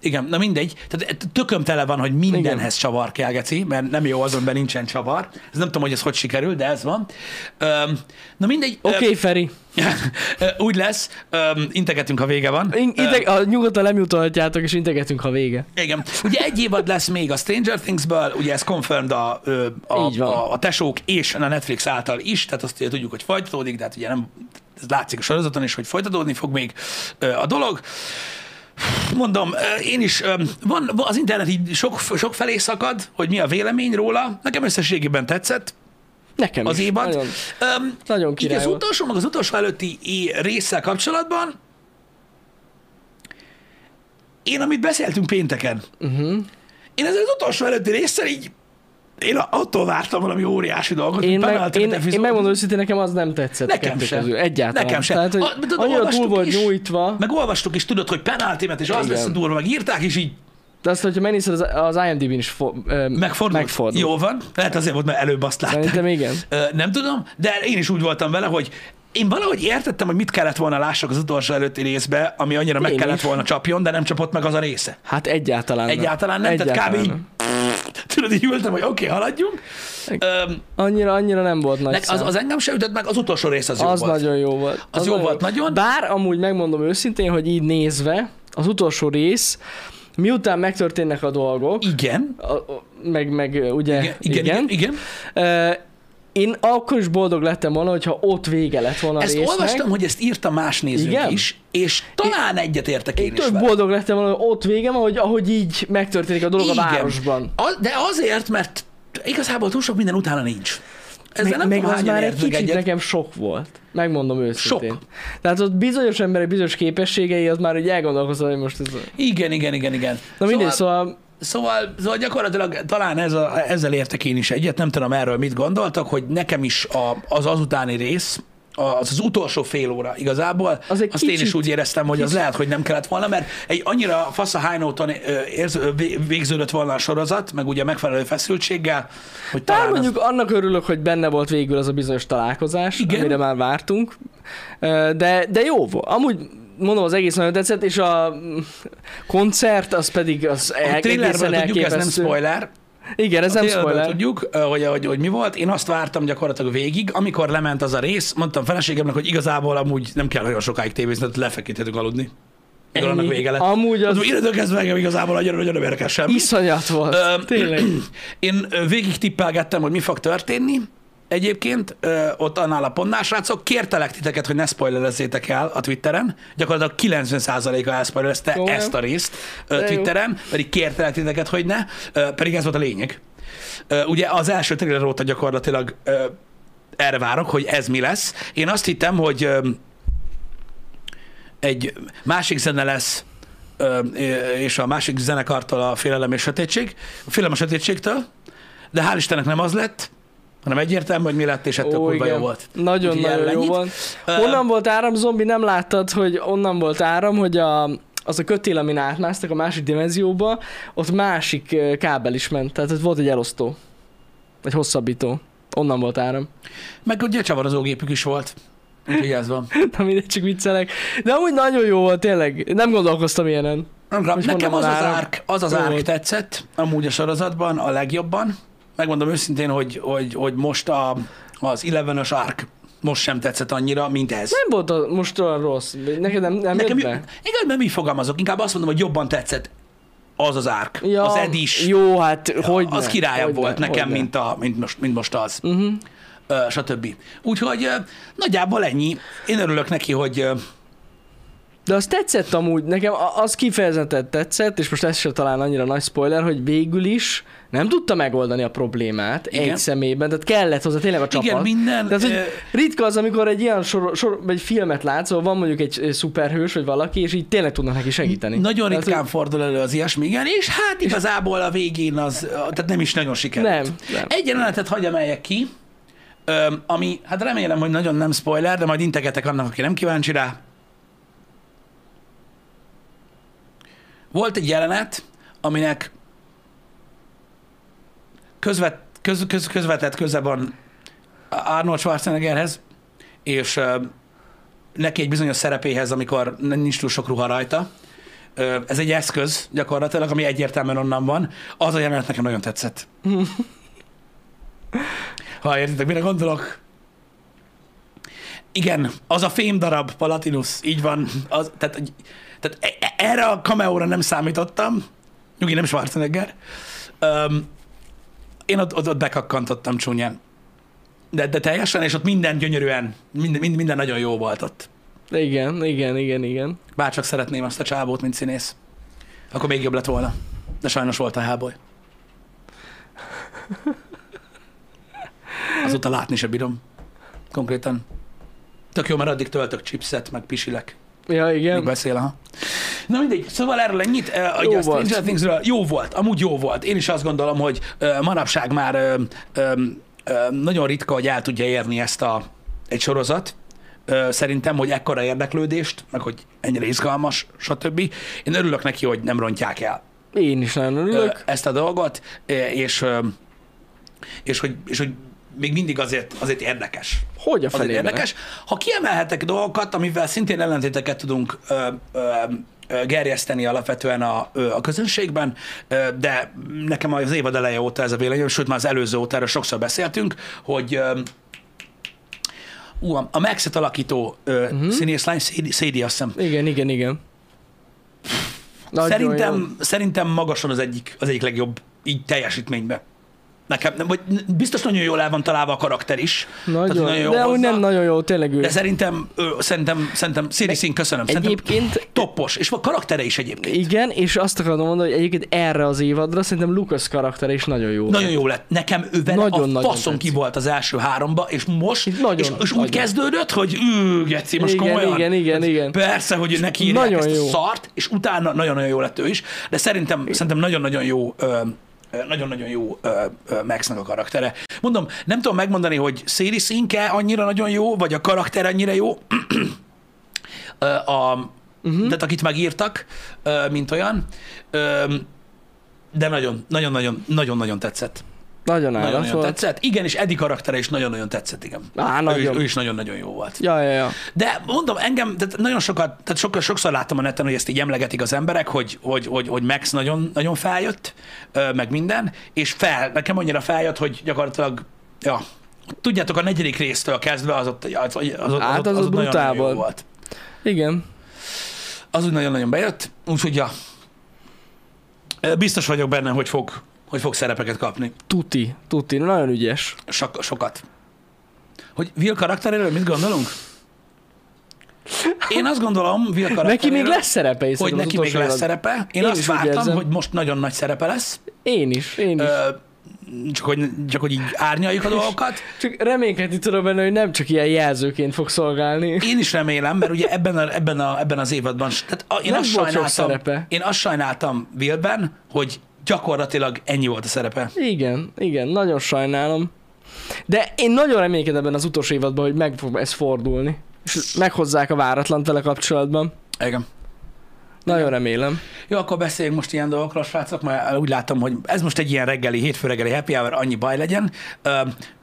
Igen, na mindegy. Tehát e- tököm tele van, hogy mindenhez csavar kell, Geci, mert nem jó az, amiben nincsen csavar. Ez nem tudom, hogy ez hogy sikerül, de ez van. Öm, na mindegy. Oké, okay, Feri. Öm, úgy lesz. Öm, integetünk, ha vége van. In- Öm, Integ- a, nyugodtan lemutatjátok, és integetünk, ha vége. igen. Ugye egy évad lesz még a Stranger Things-ből, ugye ez confirmed a, ö, Így a, van. a, a tesók és a Netflix által is, tehát azt ugye tudjuk, hogy folytatódik, de hát ugye nem, ez látszik a sorozaton is, hogy folytatódni fog még ö, a dolog. Mondom, ö, én is, ö, van, van- az internet így sok, sok felé szakad, hogy mi a vélemény róla. Nekem összességében tetszett Nekem az is. évad. Nagyon, Öm, nagyon így király az volt. utolsó, meg az utolsó előtti é- résszel kapcsolatban én, amit beszéltünk pénteken, Uh-huh. én ezzel az utolsó előtti résszel így én attól vártam valami óriási dolgot, Én, hogy meg, bemeltek a én, én defizót. megmondom őszintén, nekem az nem tetszett. a Nekem kettő sem. közül. Egyáltalán. Nekem sem. Tehát, hogy A- de tudod, annyira túl olvastuk volt is. nyújtva, Meg olvastuk is, tudod, hogy penáltimet, és az Igen. lesz a durva, meg írták, és így de azt, hogyha mennész az, az IMDb-n is fo- ö, megfordult. megfordul. Jó van, lehet azért volt, mert előbb azt látták. Szerintem igen. Ö, nem tudom, de én is úgy voltam vele, hogy én valahogy értettem, hogy mit kellett volna lássak az utolsó előtti részbe, ami annyira meg Én kellett is. volna csapjon, de nem csapott meg az a része. Hát egyáltalán nem. Egyáltalán nem, tehát kb. így, tudod, így ültem, hogy oké, okay, haladjunk. Öm, Annyira, annyira nem volt nagy nek- az, szám. az engem sem ütött meg, az utolsó rész az, jó az volt. nagyon jó volt. Az jó volt nagyon. Bár amúgy megmondom őszintén, hogy így nézve, az utolsó rész, miután megtörténnek a dolgok, Igen. a, a, meg, meg ö, ugye, Igen, igen, igen. igen. Ö, én akkor is boldog lettem volna, hogyha ott vége lett volna a Ezt résznek. olvastam, hogy ezt írta más nézőnk Igen? is, és talán egyetértek én, Én is több vele. boldog lettem volna, hogy ott vége van, hogy ahogy így megtörténik a dolog Igen. a városban. A, de azért, mert igazából túl sok minden utána nincs. Ezzel Meg, nem meg tudom, az hányan már egy értünk kicsit egyet. nekem sok volt. Megmondom őszintén. Sok. Tehát ott bizonyos emberek bizonyos képességei, az már úgy elgondolkozom, hogy most ez... Na Igen, igen, igen, igen. mindegy, szóval, szóval szóval, szóval gyakorlatilag talán ez a, ezzel értek én is egyet, nem tudom erről mit gondoltak, hogy nekem is a, az azutáni rész, az, az utolsó fél óra igazából, Az egy azt én is kicsit- úgy éreztem, hogy az lehet, hogy nem kellett volna, mert egy annyira fasz a high note-on ö, érz- ö, vé- végződött volna a sorozat, meg ugye megfelelő feszültséggel, hogy Talán talán az mondjuk az... annak örülök, hogy benne volt végül az a bizonyos találkozás, Igen. Igen. amire már vártunk, Ö, de, de jó volt. Amúgy mondom, az egész nagyon tetszett, és a mm, koncert, az pedig az a el- trailerből egészen tudjuk, ez nem elképesztő. spoiler, Igen, ez nem Tényleg spoiler. tudjuk, ö, hogy, hogy, hogy mi volt. Én azt vártam gyakorlatilag végig, amikor lement az a rész, mondtam feleségemnek, hogy igazából amúgy nem kell nagyon sokáig tévézni, tehát lefekíthetünk aludni. Mikor annak Ennyi. vége lett. Amúgy az Az... Innentől kezdve engem igazából nagyon, nagyon nem érdekel semmi. iszonyat volt. Ö, Tényleg. Én ö, végig tippelgettem, hogy mi fog történni. Egyébként ö, ott annál a pontnál, srácok, kértelek titeket, hogy ne spoilerezzétek el a Twitteren. Gyakorlatilag 90%-a elspoilerezte Komolyan? ezt a részt De ö, jó. Twitteren, pedig kértelek titeket, hogy ne, ö, pedig ez volt a lényeg. Ö, ugye az első trailer óta gyakorlatilag ö, erre várok, hogy ez mi lesz. Én azt hittem, hogy ö, egy másik zene lesz, ö, és a másik zenekartól a Félelem és Sötétség, a Félelem a Sötétségtől, de hál' Istennek nem az lett, hanem egyértelmű, hogy mi lett, és ettől kurva jó volt. Úgyhogy Nagyon-nagyon erről jó ennyit. volt. Ö, Honnan volt áram, zombi? Nem láttad, hogy onnan volt áram, hogy a, az a kötél, amin átmásztak a másik dimenzióba, ott másik ö, kábel is ment. Tehát ott volt egy elosztó. Egy hosszabbító. Onnan volt áram. Meg ugye csavarozógépük is volt. Úgyhogy ez van. Na mindegy, csak viccelek. De amúgy nagyon jó volt, tényleg. Nem gondolkoztam ilyenen. Nem, rám- Most Nekem az mondom, az várom. árk, az az Jó árk volt. tetszett, amúgy a sorozatban a legjobban. Megmondom őszintén, hogy, hogy, hogy most a, az 11-ös árk most sem tetszett annyira, mint ez. Nem volt a, most olyan rossz. Neked nem, nem Nekem jött jó, be? igen, mert mi fogalmazok? Inkább azt mondom, hogy jobban tetszett az az árk, ja, az Ed is. Jó, hát hogy az ne, királyabb hogy volt ne, nekem, hogy ne. mint, a, mint, most, mint most az, Uh-huh. ö, stb. Úgyhogy ö, nagyjából ennyi. Én örülök neki, hogy ö, De az tetszett amúgy, nekem a- az kifejezetten tetszett, és most ez se talán annyira nagy spoiler, hogy végül is nem tudta megoldani a problémát Igen. Igen. egy személyben, tehát kellett hozzá tényleg a csapat. igen, minden... Tehát, hogy ö, ritka az, amikor egy ilyen sor, sor, vagy filmet látsz, ahol van mondjuk egy ö, szuperhős, vagy valaki, és így tényleg tudnak neki segíteni. Nagyon Tehát, ritkán fordul elő az ilyesmi, igen, és hát igazából a végén az, tehát nem is nagyon hogy- sikerült. Nem, nem. Egy jelenetet hagy emeljek ki, öm, ami, hát remélem, hogy nagyon nem spoiler, de majd integetek annak, aki nem kíváncsi rá. Volt egy jelenet, aminek közvet, köz, köz, közvetett köze van Arnold Schwarzeneggerhez, és öm, neki egy bizonyos szerepéhez, amikor nincs túl sok ruha rajta, Ö, Ez egy eszköz gyakorlatilag, ami egyértelműen onnan van. Az a jelenet nekem nagyon tetszett. ha értitek, mire gondolok? Igen, az a fém darab, Palatinus, így van. Az, tehát, hogy- tehát e- e- erre a kameóra nem számítottam. Nyugi, nem Schwarzenegger. Um, én ott, ott, ott bekakkantottam csúnyán. De, de teljesen, és ott minden gyönyörűen, minden, mind- minden nagyon jó volt ott. Igen, igen, igen, igen. Bárcsak szeretném azt a csábót, mint színész. Akkor még jobb lett volna. De sajnos volt a háboly. Azóta látni se bírom. Konkrétan. Tök jó, mert addig töltök chipset, meg pisilek. Ja, Még igen. beszél, aha. Na mindegy, szóval erről ennyit. eh, hogy Jó a Stranger volt. Thingsről jó volt, amúgy jó volt. Én is azt gondolom, hogy eh, manapság már eh, eh, eh, nagyon ritka, hogy el tudja érni ezt a, egy sorozat. Eh, Szerintem, hogy ekkora érdeklődést, meg hogy ennyire izgalmas, stb. Én örülök neki, hogy nem rontják el Én is nagyon ö, örülök. ezt a dolgot, ö, és, ö, és, hogy, és hogy még mindig azért, azért érdekes. Hogy a Azért felébe? érdekes. Ha kiemelhetek dolgokat, amivel szintén ellentéteket tudunk ö, ö, ö, gerjeszteni alapvetően a, ö, a közönségben, ö, de nekem az évad eleje óta ez a véleményem, sőt már az előző óta erről sokszor beszéltünk, hogy ö, ú, a a Maxet alakító Mhm. uh-huh. színészlány, Szédi, Szédi azt hiszem, Igen, igen, igen. Nagyon jó. Szerintem, szerintem magasan az egyik, az egyik legjobb így teljesítménybe. Nekem nem, vagy biztos nagyon jól el van találva a karakter is. Tehát, Nagyon, hogy nagyon jól de úgy hozza. nem nagyon jó, tényleg ő. De szerintem, ö, szerintem, szerintem, Siri Szín, köszönöm. Szerintem Egyébként toppos, és a karaktere is egyébként. igen, és azt akarom mondani, hogy egyébként erre az évadra szerintem Lucas karaktere is nagyon jó. Nagyon jó lett. Nekem ővel Nagyon, a nagyon faszom ki tetszik. volt az első háromba, és most, Nagyon, és, és úgy nagyon. kezdődött, hogy ű, geci, most Igen, komolyan. igen, igen, Hát igen. Persze, hogy neki írják nagyon ezt a jó. szart, és utána nagyon-nagyon jó lett ő is, de szerintem, szerintem nagyon-nagyon jó ö, ö, nagyon-nagyon jó ö, ö, Maxnak a karaktere. Mondom, nem tudom megmondani, hogy Széri színke annyira nagyon jó, vagy a karakter annyira jó, Ö, a, Mhm. uh-huh. tehát akit megírtak, ö, mint olyan, Ö, de nagyon, nagyon-nagyon, nagyon-nagyon tetszett. Nagyon állat Nagyon-nagyon volt. tetszett. Igen, és Edi karaktere is nagyon-nagyon tetszett, igen. Á, ő, is, nagyon. ő is nagyon-nagyon jó volt. Ja, ja, ja. De mondom, engem, tehát nagyon sokat, tehát sokkal, sokszor láttam a neten, hogy ezt így emlegetik az emberek, hogy, hogy, hogy, hogy Max nagyon, nagyon feljött, ö, meg minden, és fel, nekem annyira feljött, hogy gyakorlatilag, ja, tudjátok, a negyedik résztől kezdve az ott, az, az, az, ott- Hát, az ott nagyon-nagyon ott brutál jó volt. volt. Igen. Az úgy nagyon-nagyon bejött, úgyhogy ja, Ö, biztos vagyok benne, hogy fog, hogy fog szerepeket kapni. Tuti, tuti, nagyon ügyes. Sok, sokat. Hogy Will karakteréről mit gondolunk? Én azt gondolom, Will karakteréről, Neki még lesz szerepe, hiszem, hogy az neki még utolsó lesz évad- szerepe. Én, Én azt is úgy vártam, érzem. hogy most nagyon nagy szerepe lesz. Én is, én is. Ö, csak, hogy, csak hogy így árnyaljuk a dolgokat. Csak reménykedni tudom benne, hogy nem csak ilyen jelzőként fog szolgálni. Én is remélem, mert ugye ebben, a, ebben, a, ebben az évadban, s- tehát a, én, Nem azt volt sok sajnáltam, szerepe. én azt sajnáltam Willben, hogy gyakorlatilag ennyi volt a szerepe. Igen, igen, nagyon sajnálom. De én nagyon reménykedem ebben az utolsó évadban, hogy meg fog ez fordulni. És meghozzák a váratlan vele kapcsolatban. Igen. Nagyon remélem. Jó, akkor beszéljünk most ilyen dolgokról, srácok, mert úgy látom, hogy ez most egy ilyen reggeli, hétfő reggeli happy hour, annyi baj legyen. Uh,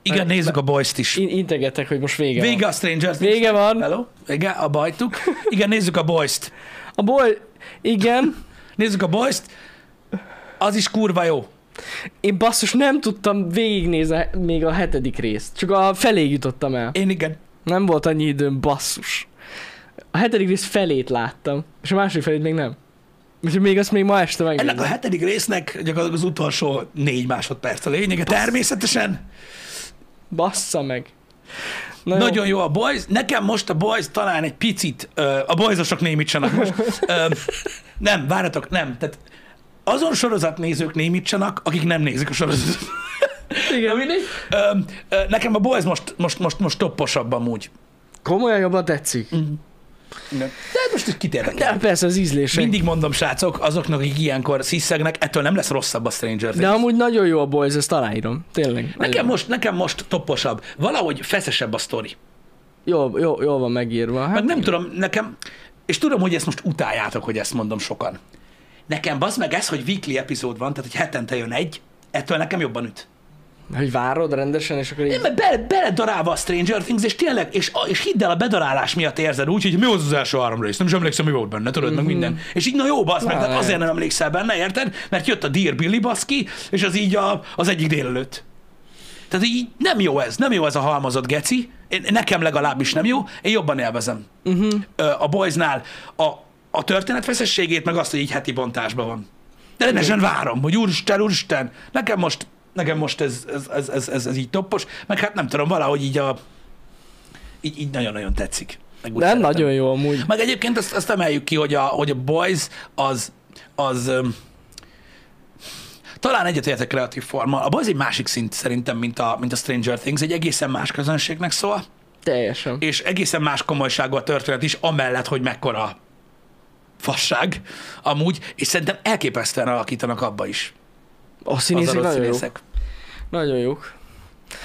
igen, nézzük a boys is. Én integetek, hogy most vége, Vége van. a Stranger Things. Vége van. Hello? Vége a bajtuk. Igen, nézzük a boys-t. A boly... Igen. Nézzük a boys -t. Az is kurva jó. Én basszus nem tudtam végignézni még a hetedik részt. Csak a felé jutottam el. Én igen. Nem volt annyi időm, basszus. A hetedik rész felét láttam, és a másik felét még nem. Úgyhogy még azt még ma este Ennek a megnézem. hetedik résznek gyakorlatilag az utolsó négy másodperc a lényege. Természetesen Bassza meg. Na Na jó. nagyon jó a boys. Nekem most a boys talán egy picit, ö, a boysosok némítsanak most. Ö, nem, várjatok, nem. Tehát azon sorozatnézők némítsanak, akik nem nézik a sorozatot. Igen, mindegy. Ö, ö, nekem a boys most, most, most, most topposabb amúgy. Komolyan jobban tetszik. De hát most is kitérnek. De persze az ízlése. Mindig mondom, srácok, azoknak, akik ilyenkor sziszegnek, ettől nem lesz rosszabb a Stranger Things. De amúgy nagyon jó a boys, ezt aláírom. Tényleg. Nekem Nagyon. most, nekem most topposabb. Valahogy feszesebb a sztori. Jó, jó, jó van megírva. Hát Meg nem tudom, nekem, és tudom, hogy ezt most utáljátok, hogy ezt mondom sokan. Nekem bazd meg ez, hogy weekly epizód van, tehát hogy hetente jön egy, ettől nekem jobban üt. Hogy várod rendesen, és akkor Én így... mert bele, beledarálva a Stranger Things, és tényleg, és, a- és hidd el, a bedarálás miatt érzed úgy, hogy mi volt az első három rész, nem is emlékszem, mi volt benne, tudod, mm-hmm. meg minden. És így, na jó, basz, meg, Na, tehát azért értem. nem emlékszel benne, érted? Mert jött a Dear Billy baszki, és az így a, az egyik délelőtt. Tehát így nem jó ez, nem jó ez a halmozott geci, Én, nekem legalábbis nem jó, én jobban élvezem. Uh-huh. A Boysnál a, a történet feszességét, meg azt, hogy így heti bontásban van. De rendesen várom, hogy úristen, úristen, nekem most, nekem most ez, ez, ez, ez, ez, ez így toppos, meg hát nem tudom, valahogy így a, így, így nagyon-nagyon tetszik. Meg úgy De szeretem. nagyon jó amúgy. Meg egyébként azt, azt emeljük ki, hogy a, hogy a Boys az, az öm, talán egyetértek kreatív forma. A Boys egy másik szint szerintem, mint a, mint a Stranger Things, egy egészen más közönségnek szól, Teljesen. és egészen más komolyságú a történet is, amellett, hogy mekkora fasság amúgy, és szerintem elképesztően alakítanak abba is A az színészek adott nagyon jók. színészek. Nagyon jók.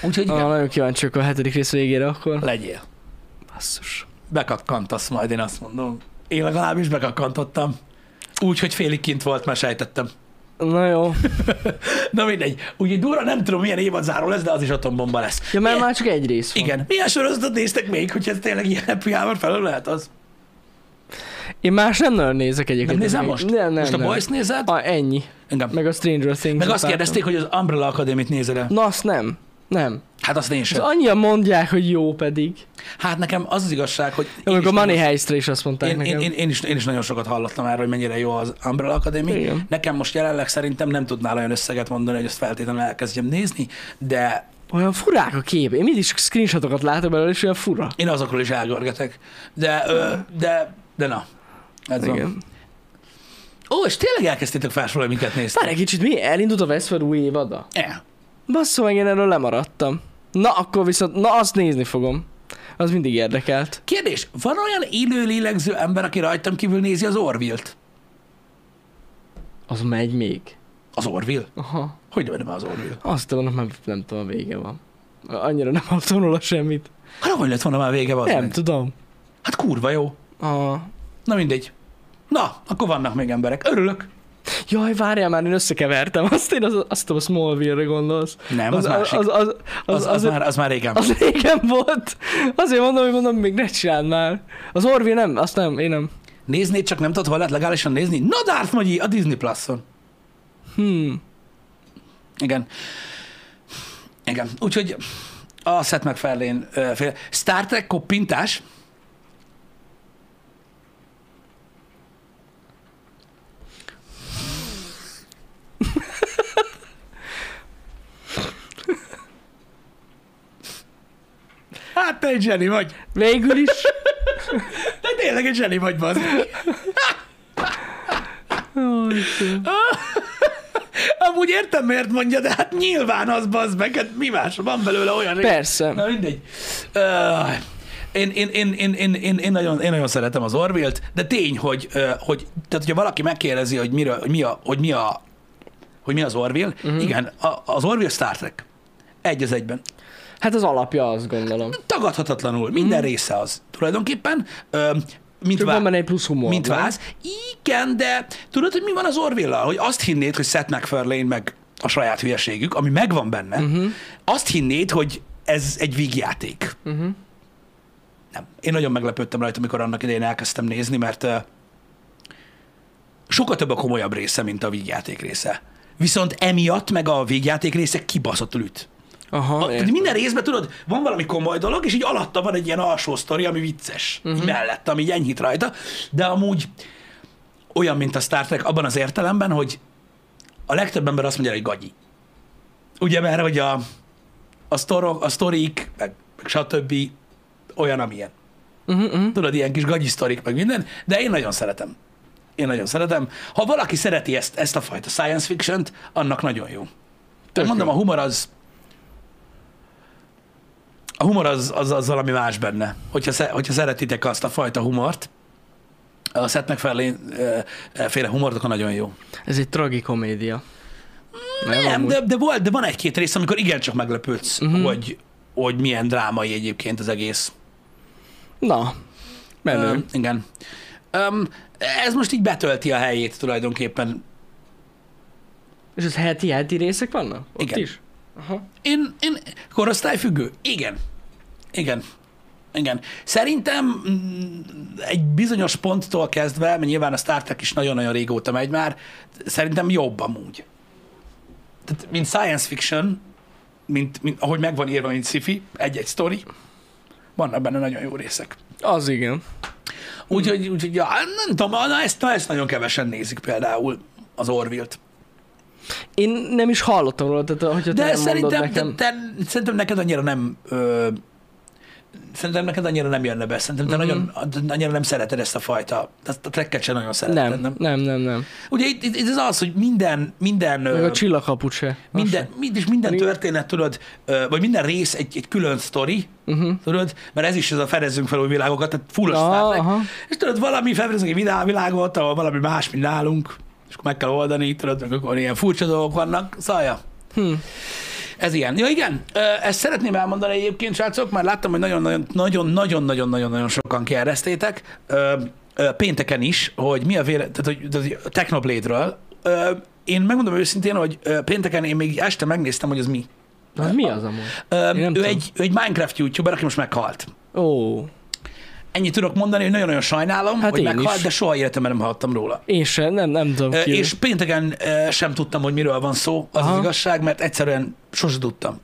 Úgyhogy Ah, igen, nagyon kíváncsiak a hetedik rész végére akkor. legyél. Basszus. Bekakkantasz majd, én azt mondom. Én legalábbis bekakkantottam. Úgy, hogy félig kint volt, már sejtettem. Na jó. Na mindegy. Ugye durva, nem tudom, milyen évadzáró lesz, de az is atombomba lesz. Ja, mert milyen, már csak egy rész van. Igen. Milyen sorozatot néztek még, hogy ez tényleg ilyen happy hour felől lehet az? Én más nem nagyon nézek Nem egyébként. nézem most? Nem, nem, most a nem. Boys nézed? A, ennyi. Engem. Meg, Meg a Stranger Things. meg azt láttam. kérdezték, hogy az Umbrella Akadémit nézel -e. Na azt nem. Nem. Hát azt én Az sem. annyian mondják, hogy jó pedig. Hát nekem az az igazság, hogy... én Amikor is Money nagyon- Heistre is azt mondták én, nekem. én, én, én, is, én is nagyon sokat hallottam erről, hogy mennyire jó az Umbrella Academy. Igen. Nekem most jelenleg szerintem nem tudnál olyan összeget mondani, hogy ezt feltétlenül elkezdjem nézni, de Olyan furák a kép. Én mindig csak screenshotokat látok belőle, és olyan fura. én azokról is elgörgetek. De, ö, de, de na, ez van. Igen. Ó, és tényleg elkezdtétek felsorolni, minket néztek? Várj egy kicsit, mi? Elindult a Westworld új évada? E. Basszom, meg én erről lemaradtam. Na, akkor viszont, na azt nézni fogom. Az mindig érdekelt. Kérdés, van olyan élő lélegző ember, aki rajtam kívül nézi az Orville-t? Az megy még. Az Orville? Aha. Hogy nem már az Orville? Azt tudom, nem, nem tudom, a vége van. Annyira nem hallottam róla semmit. Hát hogy lett volna már vége Az van? nem tudom. Hát kurva jó. A... Na mindegy. Na, akkor vannak még emberek. Örülök. Jaj, várjál már, én összekevertem. Azt én az, azt a Smallville-re gondolsz. Nem, az, az, másik. az, az, az, az, az, már, az már régen az régen volt. Azért mondom, hogy mondom, még ne csináld már. Az Orville nem, azt nem, én nem. Néznéd, csak nem tudod, hol lehet legálisan nézni? Na, Darth Magyi, a Disney Plus-on. Hmm. Igen. Igen. Úgyhogy a Seth MacFarlane ö, féle. Star Trek koppintás. Hát te egy zseni vagy. Végül is. Te tényleg egy zseni vagy, bazd. Ó, Istenem. Amúgy értem, miért mondja, de hát nyilván az bazd meg, hát mi más, van belőle olyan rész. Persze. Na mindegy. Uh, én, én, én, én, én, én, én, nagyon, én nagyon szeretem az Orville-t, de tény, hogy, ö, hogy tehát, hogyha valaki megkérdezi, hogy, miről, hogy, mi, a, hogy, mi, a, hogy mi az Orville, uh-huh. igen, a, az Orville Star Trek. Egy az egyben. Hát az alapja, azt gondolom. Tagadhatatlanul, minden uh-huh. része az. Tulajdonképpen, ö, mint, Mhm. Csak van vá- benne egy plusz humor. mint nem? váz. Igen, de tudod, hogy mi van az orville Hogy azt hinnéd, hogy Seth MacFarlane meg a saját hülyeségük, ami megvan benne, uh-huh. azt hinnéd, hogy ez egy vígjáték. Mhm. Nem. Én nagyon meglepődtem rajta, amikor annak idején elkezdtem nézni, mert ö, sokkal több a komolyabb része, mint a vígjáték része. Viszont emiatt meg a végjáték része kibaszottul üt. Aha, A, tehát minden részben, tudod, van valami komoly dolog, és így alatta van egy ilyen alsó sztori, ami vicces, uh-huh. így mellett, ami így enyhít rajta, de amúgy olyan, mint a Star Trek abban az értelemben, hogy a legtöbb ember azt mondja, hogy gagyi. Ugye, mert hogy a, a, sztorok, a sztorik, meg, meg stb. olyan, amilyen. Uh-huh, uh-huh. Tudod, ilyen kis gagyi sztorik, meg minden, de én nagyon szeretem. Én nagyon szeretem. Ha valaki szereti ezt, ezt a fajta science fiction-t, annak nagyon jó. Tök Tök Hát mondom, jó. a humor az a humor az, az, az valami más benne. Hogyha, sze- hogyha szeretitek azt a fajta humort, a Seth MacFarlane ö, ö, féle humort, akkor nagyon jó. Ez egy tragikomédia. Nem, amúgy? Mhm. de, de, volt, de van egy-két rész, amikor igencsak meglepődsz, uh-huh. hogy, hogy milyen drámai egyébként az egész. Na, menő. Öm, igen. Öm, ez most így betölti a helyét tulajdonképpen. És az heti-heti részek vannak? Ott Igen. is? Aha. Én, én korosztályfüggő? Igen. Igen. Igen. Szerintem mm, egy bizonyos ponttól kezdve, mert nyilván a Star Trek is nagyon-nagyon régóta megy már, szerintem jobb amúgy. Tehát, mint science fiction, mint, mint ahogy megvan írva, mint sci-fi, egy-egy sztori, vannak benne nagyon jó részek. Az igen. Úgyhogy, úgy, ja, nem tudom, na ezt, na ezt nagyon kevesen nézik például az Orville-t. Én nem is hallottam róla, tehát hogyha De te nem szerintem, mondod nekem. Te, te, szerintem neked annyira nem... Ö, szerintem neked annyira nem jönne be, szerintem Mhm. te nagyon, annyira nem szereted ezt a fajta, ezt a trekket sem nagyon szereted, nem? nem, nem, nem, nem, nem. Ugye itt, itt, itt az az, hogy minden, minden, Meg ö, a csillagkaput se. Az minden, se. mind, és minden történet, tudod, ö, vagy minden rész egy, egy külön sztori, Mhm. uh-huh. tudod, mert ez is ez a fedezzünk fel új világokat, tehát full a Ah, Star Trek. aha. És tudod, valami felfedezünk egy vidá- világot, ahol valami más, mint nálunk, és akkor meg kell oldani, tudod, meg akkor ilyen furcsa dolgok vannak, szalja. Hm. Ez ilyen. Ja, igen, ö, ezt szeretném elmondani egyébként, srácok, mert láttam, hogy nagyon-nagyon-nagyon-nagyon-nagyon sokan kérdeztétek, ö, ö, pénteken is, hogy mi a véle, tehát, hogy, tehát, hogy a Technoblade-ről. Ö, Én megmondom őszintén, hogy ö, pénteken én még este megnéztem, hogy ez mi. Az Hát mi az amúgy? Ö, Én nem Ő tudom. egy, ő egy Minecraft youtuber, aki most meghalt. Ó, Ennyit tudok mondani, hogy nagyon-nagyon sajnálom, Hát hogy én meghalt, is. de soha életemben nem hallottam róla. én sem, nem, nem tudom Ö, ki. És pénteken ö, sem tudtam, hogy miről van szó, az, az Aha. igazság, mert egyszerűen sose tudtam,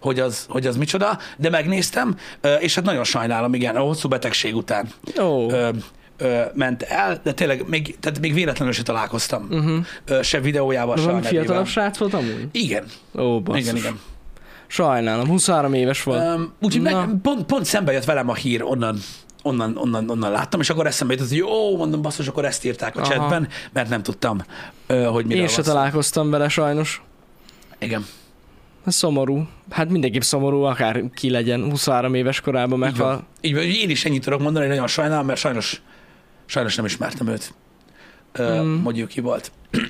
hogy az, hogy az micsoda, de megnéztem, ö, és hát nagyon sajnálom, igen, a hosszú betegség után Ó, ö, ö, ment el, de tényleg még, tehát még véletlenül se találkoztam, uh-huh. ö, se videójával, Mm. de se a Mhm. valami nevével. fiatalabb srác volt amúgy? Igen, Ó, basszus. igen, igen. Sajnálom, 23 éves volt. Öm, úgyhogy meg, Na. pont, pont szembe jött velem a hír, onnan, onnan, onnan, onnan láttam, és akkor eszembe jutott, hogy jó, mondom, basszus, akkor ezt írták a Aha. chatben, mert nem tudtam, ö, hogy miről Én van se szó. találkoztam vele sajnos. Igen. Ez szomorú. Hát mindenképp szomorú, akár ki legyen 23 éves korában Így van. meghal. Így van, én is ennyit tudok mondani, nagyon sajnálom, mert sajnos, sajnos nem ismertem őt. Ö, Mm. Mondjuk ki volt.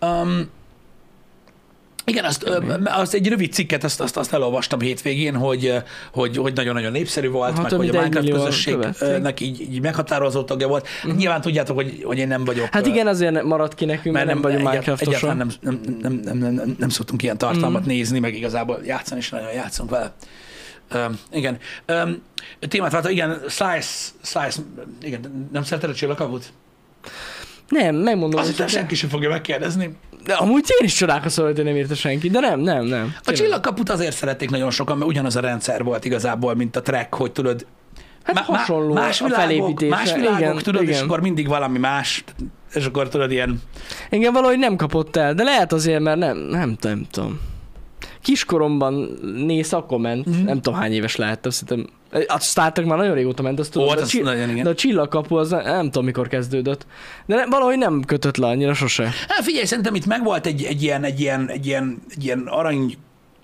um, igen, azt, ö, azt egy rövid cikket, azt, azt, azt elolvastam hétvégén, hogy ö, hogy, hogy nagyon-nagyon népszerű volt, Hát, meg hogy a amit egy Minecraft millióan Mhm. közösségnek így, így meghatározó tagja volt. Nyilván tudjátok, hogy, hogy én nem vagyok. Hát ö, igen, azért ne- maradt ki nekünk, mert, nem vagyunk egyet- Minecraftosan. Egyáltalán nem, nem, nem, nem, nem, nem, nem szoktunk ilyen tartalmat mm. nézni, meg igazából játszani is nagyon játszunk vele. Um, igen. Um, témát váltva, igen, Slice, Slice, igen, nem szereted a csillagkaput? Nem, megmondom. Azt hogy- hiszem, senki sem fogja megkérdezni. De amúgy én is csodálkozom, hogy nem írta senki, de nem, nem, nem. A Tényleg. csillagkaput azért szerették nagyon sokan, mert ugyanaz a rendszer volt igazából, mint a track, hogy tudod, Hát Má- má- hasonló más világok, a felépítése. Más világok, igen, tudod, igen. és akkor mindig valami más, és akkor tudod, ilyen Engem valahogy nem kapott el, de lehet azért, mert nem, nem, nem tudom. Kiskoromban néz, akkor ment. Mhm. Mm-hmm. Nem tudom hány éves lehettem, szerintem. A Star Trek már nagyon régóta ment, azt tudom. Ó, hát de, a az csi- nagyon igen. de a csillagkapu az nem, nem tudom mikor kezdődött. De ne, valahogy nem kötött le annyira sose. Hát figyelj, szerintem itt megvolt egy, egy ilyen, egy ilyen, egy ilyen, egy ilyen arany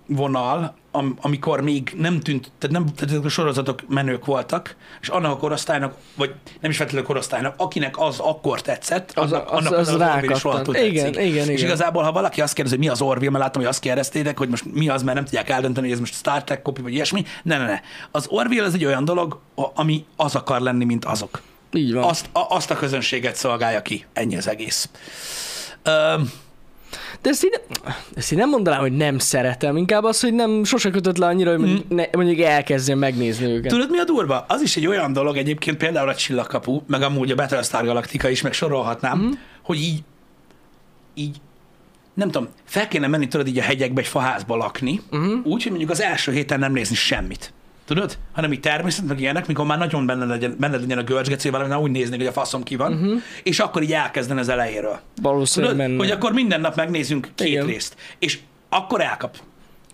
vonal, am, amikor még nem tűnt, tehát, nem, tehát ezek a sorozatok menők voltak, és annak a korosztálynak, vagy nem is feltétlenül korosztálynak, akinek az akkor tetszett, Az- annak, az- annak az például Orville is rákattant. rohadtul Igen, tetszik. És igen, igen. igazából, ha valaki azt kérdezi, hogy mi az Orville, mert láttam, hogy azt kérdeztétek, hogy most mi az, mert nem tudják eldönteni, hogy ez most Star Trek kopi, vagy ilyesmi. Ne, ne, ne. Az Orville az egy olyan dolog, a- ami az akar lenni, mint azok Így van. azt a, azt a közönséget szolgálja ki. Ennyi az egész. Öm, De ezt én, ezt én nem mondanám, hogy nem szeretem, inkább az, hogy nem sose kötött le annyira, hogy mondjuk, ne, mondjuk elkezdjem megnézni őket. Mhm. tudod, mi a durva? Az is egy olyan dolog egyébként, például a Csillagkapu, meg amúgy a Battlestar Galactica is, meg sorolhatnám, mm. hogy így, így, nem tudom, fel kéne menni, tudod, így a hegyekbe egy faházba lakni, mm. úgy, hogy mondjuk az első héten nem nézni semmit. Tudod? Hanem így természet, meg ilyenek, mikor már nagyon benne legyen, benne legyen a görcsgecével, már úgy néznék, hogy a faszom ki van, uh-huh. és akkor így elkezdeni az elejéről. Valószínűleg Tudod, menne. hogy akkor minden nap megnézünk két Igen. Igen. részt, és akkor elkap.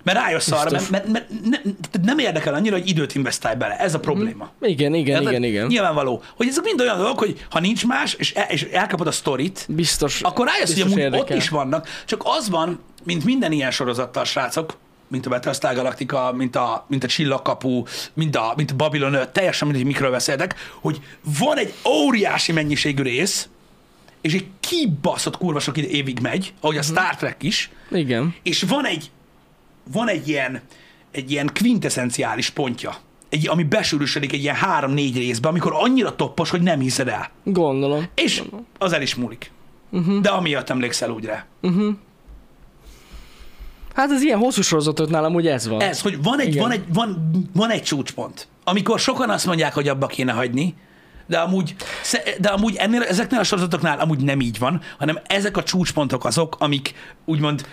Mert rájössz arra, mert, Biztos. mert, mert ne, tehát nem érdekel annyira, hogy időt investálj bele. Ez a probléma. Igen, Mhm. igen, Érted? igen, igen. Nyilvánvaló. Hogy ezek mind olyan dolgok, hogy ha nincs más, és, el, és elkapod a sztorit, Biztos. akkor rájössz, hogy biztos amúgy érdekel. ott is vannak. Csak az van, mint minden ilyen sorozattal, srácok, mint a Battlestar Galactica, mint a, mint a Csillagkapu, mint a, mint a Babylon 5, teljesen mindegy, hogy mikről beszéltek, hogy van egy óriási mennyiségű rész, és egy kibaszott kurva sok ide- évig megy, ahogy Mhm. a Star Trek is, Igen. és van egy, van egy ilyen, egy ilyen quintessenciális pontja, egy, ami besűrűsödik egy ilyen három-négy részbe, amikor annyira toppos, hogy nem hiszed el. Gondolom. És Mhm. az el is múlik. Uh-huh. De amiatt emlékszel úgy rá. Hát az ilyen hosszú sorozatoknál amúgy ez van. Ez, hogy van egy, Igen. van, egy, van, van egy csúcspont, amikor sokan azt mondják, hogy abba kéne hagyni, de amúgy, sze- de amúgy ennél, ezeknél a sorozatoknál amúgy nem így van, hanem ezek a csúcspontok azok, amik úgymond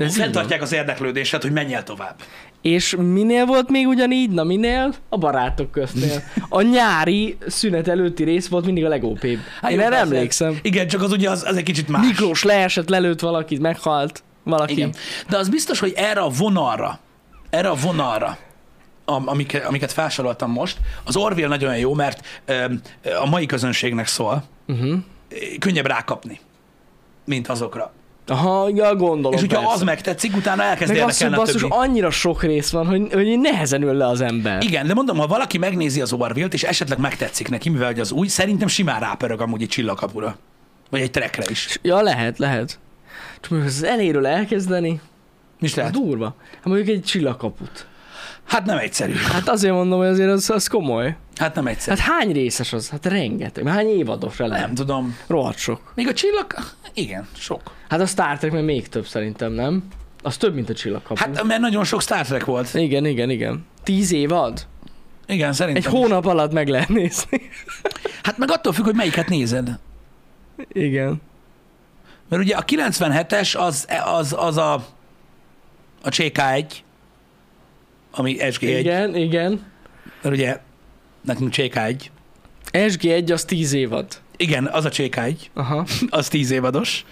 így fenntartják az érdeklődéset, hogy menjél tovább. És minél volt még ugyanígy? Na minél? A barátok köztnél. A nyári szünet előtti rész volt mindig a legópébb. Hát Én jó, erre persze. emlékszem. Igen, csak az ugye az, az egy kicsit más. Miklós leesett, lelőtt valakit, meghalt valaki. Igen. De az biztos, hogy erre a vonalra, erre a vonalra, am- amik, amiket felsoroltam most, az Orville nagyon jó, mert öm, a mai közönségnek szól, Uh-huh. könnyebb rákapni, mint azokra. Aha, ja, gondolom. És hogyha persze. az megtetszik, utána elkezd meg azt, hogy érdekelni a basszus, többi. annyira sok rész van, hogy, hogy nehezen ül le az ember. Igen, de mondom, ha valaki megnézi az Orville-t, és esetleg megtetszik neki, mivel hogy az új, szerintem simán rápörög amúgy egy csillagkapura. Vagy egy trekre is. Ja, lehet, lehet. Csak mondjuk az eléről elkezdeni, Mi is az lehet? durva. Hát mondjuk egy csillagkaput. Hát nem egyszerű. Hát azért mondom, hogy azért az, az komoly. Hát nem egyszerű. Hát hány részes az? Hát rengeteg. Hány évadosra lehet? Nem tudom. Rohadt sok. Hát- Még a csillag? Igen, sok. Hát a Star Trek meg még több szerintem, nem? Az több, mint a csillagkapu. Hát mert nagyon sok Star Trek volt. Igen, igen, igen. Tíz évad? Igen, szerintem. Egy hónap alatt meg lehet nézni. Hát meg attól függ, hogy melyiket nézed. igen. Mert ugye a 97-es az, az, az a, a CK1, ami SG1, Igen. Igen, igen. mert ugye nekünk CK1. SG1 az tíz évad. Igen, az a CK1, Aha. az 10 évados.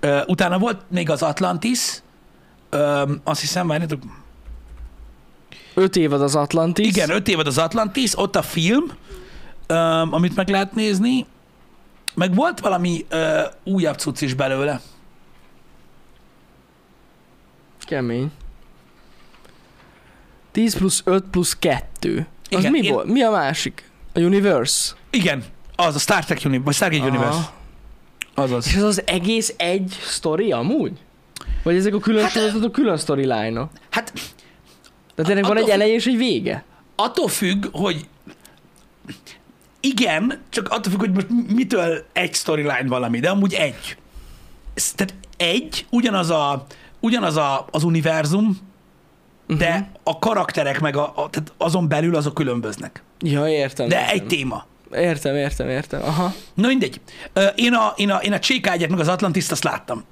Ö, utána volt még az Atlantis, Ö, azt hiszem, várjátok, Öt évad az Atlantis. igen, 5 évad az Atlantis, ott a film, ö, amit meg lehet nézni, meg volt valami ö, újabb cucc is belőle. Kemény. 10 plusz 5 plusz 2. Az Igen, mi én- volt? Mi a másik? A Universe. Igen, az a Star Trek Universe, vagy Stargate Aha. Universe. Azaz. És ez az egész egy sztori amúgy? Vagy ezek a külön Hát- hát, sorozatok külön storyline-ok? Hát Tehát ennek van Attól egy függ- eleje és egy vége? attól függ, hogy igen, csak attól függ, hogy most mitől egy storyline valami, de amúgy egy. Ez- Tehát egy, ugyanaz, a, ugyanaz a, az univerzum, de Mhm. a karakterek meg a, a, tehát azon belül azok különböznek. Ja, értem. De értem. egy téma. Értem, értem, értem. Aha. Na mindegy. Ö, Én a, én a, én a Csékágyet meg az Atlantiszt azt láttam.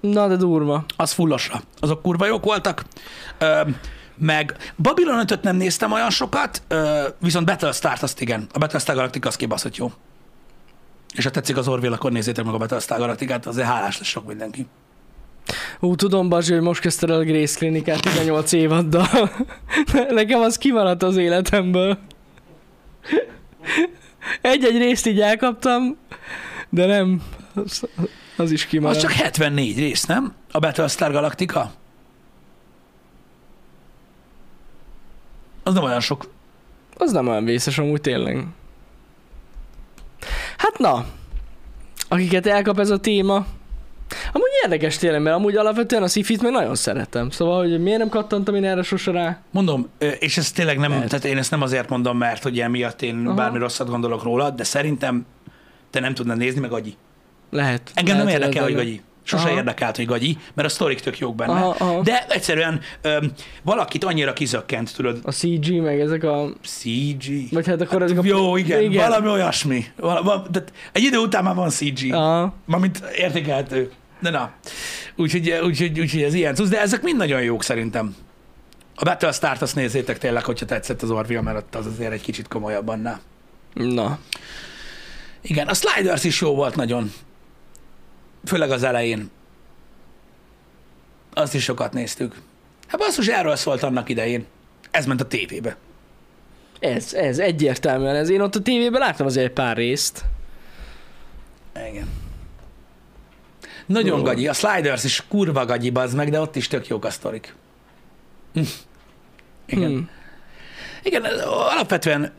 Na, de durva. az fullosra. Azok kurva jók voltak. Ö, meg Babylon 5 nem néztem olyan sokat, ö, viszont Battlestar-t azt igen. A Battlestar Galactica az kibaszott jó. És ha tetszik az Orville, akkor nézzétek meg a Battlestar Galacticát, azért hálás lesz sok mindenki. Ú, tudom, Bazsi, hogy most kezdted el a Grace Klinikát 18 évaddal. Nekem az kimaradt az életemből. Egy-egy részt így elkaptam, de nem. Az, az is Az kimaradt. csak 74 rész, nem? A Battlestar Galactica? Az nem olyan sok. Az nem olyan vészes amúgy tényleg. Hát na, akiket elkap ez a téma, amúgy érdekes tényleg, mert amúgy alapvetően a szifit meg nagyon szeretem. Szóval, hogy miért nem kattantam én erre sose rá? Mondom, ö, és ez tényleg nem, Lehet. tehát én ezt nem azért mondom, mert hogy emiatt én Aha. bármi rosszat gondolok róla, de szerintem te nem tudnád nézni, meg agyi. Lehet. Engem nem lehet, érdekel, hogy lehet, gagyi. Sose Aha. érdekelt, hogy gagyi, mert a sztorik tök jók benne. Aha, aha. De egyszerűen öm, valakit annyira kizökkent, tudod, A CG, meg ezek a... CG. Vagy hát akkor ezek a... Jó, igen, igen. igen. valami olyasmi. Val- val- de egy idő után már van CG, ja. Aha. mármint értékelhető. De na, úgyhogy, úgyhogy, úgyhogy ez ilyen cucc, de ezek mind nagyon jók szerintem. A Battlestar-t azt nézzétek tényleg, hogyha tetszett az Orville, mert ott az azért egy kicsit komolyabb annál. Na. Igen, a Sliders is jó volt nagyon. Főleg az elején. Azt is sokat néztük. Hát basszus, erről szólt annak idején. Ez ment a tévébe. Ez, ez, egyértelműen ez. Én ott a tévében láttam azért egy pár részt. Igen. Nagyon Jó. gagyi. A Sliders is kurva gagyi, bazd meg, de ott is tök jók a sztorik. Hm. Igen. Hm. Igen, alapvetően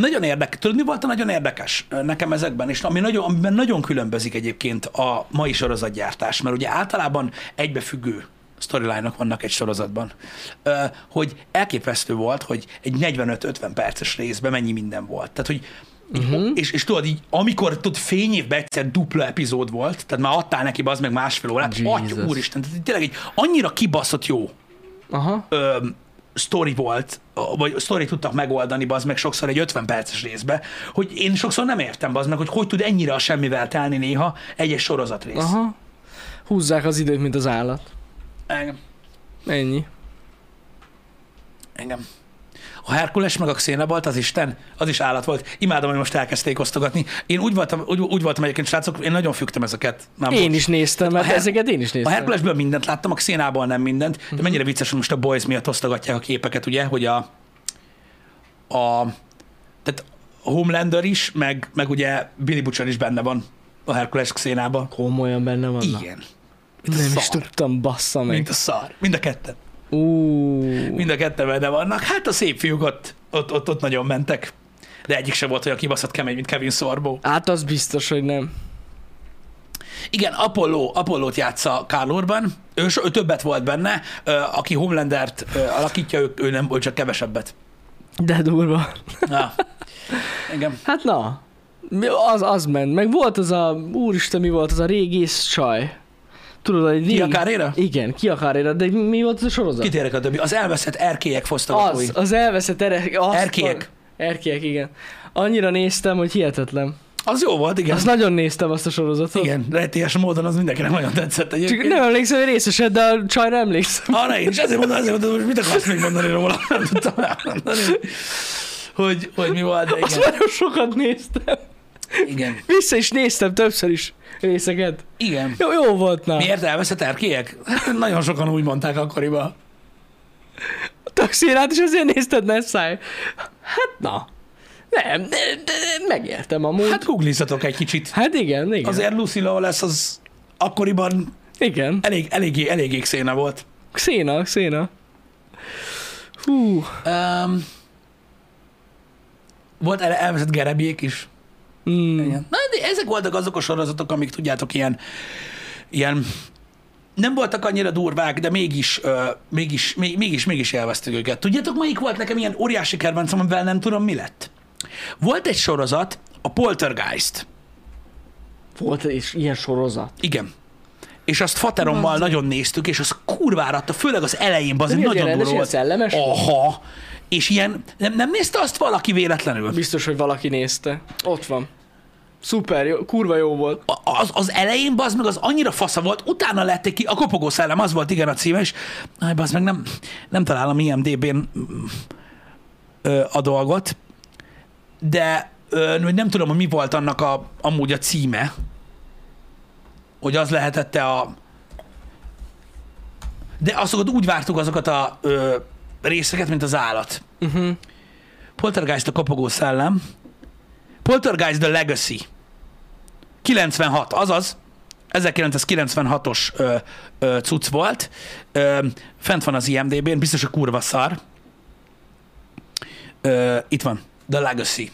nagyon érdekes. Tudod, mi volt a nagyon érdekes nekem ezekben? És ami nagyon, amiben nagyon különbözik egyébként a mai sorozatgyártás, mert ugye általában egybefüggő storyline vannak egy sorozatban, Ö, hogy elképesztő volt, hogy egy 45-50 perces részben mennyi minden volt. Tehát, hogy Uh-huh. És, és tudod, így, amikor tudod, fényévben egyszer dupla epizód volt, tehát már adtál neki az meg másfél órát, Jesus. atya úristen, tehát tényleg egy annyira kibaszott jó Aha. ö, sztori volt, vagy sztori tudtak megoldani, az meg sokszor egy 50 perces részbe, hogy én sokszor nem értem az meg, hogy hogy tud ennyire a semmivel telni néha egyes sorozat rész. Aha. Húzzák az időt, mint az állat. Engem. Ennyi. Engem. A Herkules meg a Xena volt, az Isten, az is állat volt. Imádom, hogy most elkezdték osztogatni. Én úgy voltam, úgy, úgy voltam egyébként, srácok, én nagyon fügtem ezeket. Már Én most. is néztem, mert Her- ezeket én is A néztem. Herkulesből mindent láttam, a Xénából nem mindent, de mennyire vicces, hogy most a Boys miatt osztogatják a képeket, ugye, hogy a, a tehát a Homelander is, meg, meg ugye Billy Butcher is benne van a Herkules Xénában. Komolyan benne vannak. Igen. Mint a Nem is szar. tudtam, bassza meg. Mint a szar. Mind a ketten. Ú, Mind a ketten benne vannak. Hát a szép fiúk ott, ott, ott, ott nagyon mentek. De egyik sem volt olyan kibaszott kemény, mint Kevin Sorbo. Hát az biztos, hogy nem. Igen, Apollo, Apollót játsza Carl Urban. Ő, so- ő többet volt benne. Ö, Aki Homelandert ö, alakítja, ő, ő nem volt, csak kevesebbet. De durva. Na. Igen. Hát na, Mi- az, az ment. Meg volt az a, úristen, mi volt az a régész csaj. Tudod, hogy Ki a kárére? Igen, ki a kárére, de mi volt az a sorozat? Kitérek a többi. Az elveszett erkélyek fosztogatói. az, az elveszett ere, azt Erkélyek. Erkiek, igen. Annyira néztem, hogy hihetetlen. Az jó volt, igen. Azt nagyon néztem azt a sorozatot. Igen, rejtélyes módon az mindenkinek nagyon tetszett Csak egyébként. nem emlékszem, hogy részesed, de a csajra emlékszem. Arra én is, ezért mondom, ezért mondom, hogy mit akarsz még mondani róla, nem tudtam elmondani, hogy, hogy mi volt, de Azt igen. nagyon sokat néztem. igen. Vissza is néztem többször is részeket. Igen. Jó, jó volt na. Miért elveszett erkélyek? Hát nagyon sokan úgy mondták akkoriban. A taxirát is azért nézted, ne száj. Hát na. Nem, de, de, de megértem amúgy. Hát, Hát googlizzatok egy kicsit. hát igen, igen. Azért Lucy Law lesz az akkoriban Igen. elég, eléggé, eléggé széna volt. Xéna, Xéna. Hú, Um, volt el, elveszett gerebiék is. mm, Igen. Na, de ezek voltak azok a sorozatok, amik tudjátok, ilyen, ilyen nem voltak annyira durvák, de mégis, ö, mégis, mé- mégis, mégis elvesztük őket. Tudjátok, melyik volt nekem ilyen óriási kedvencem, amivel nem tudom, mi lett? Volt egy sorozat, a Poltergeist. volt is ilyen sorozat. Igen. És azt Faterommal nagyon néztük, és az kurvára adta, főleg az elején, az De mi az nagyon ilyen durva rendes, ilyen volt. szellemes? Aha. És ilyen, nem, nem nézte azt valaki véletlenül? Biztos, hogy valaki nézte. Ott van. Szuper, jó, kurva jó volt. A- az, az elején, bazd meg, az annyira fasza volt, utána lett egy ki, a kopogó szellem, az volt igen a címe, és aj, bazd meg, nem, nem találom IMDB-n mm, ö, a dolgot, de ö, hogy nem tudom, hogy mi volt annak a, amúgy a címe, hogy az lehetette a... De azokat úgy vártuk azokat a ö, részeket, mint az állat. Uh-huh. Poltergeist a kopogó szellem. Poltergeist the Legacy. 96, azaz. 1996-os ö, ö, cucc volt. Ö, fent van az IMDB-n, biztos a kurva szar. Ö, itt van. The Legacy.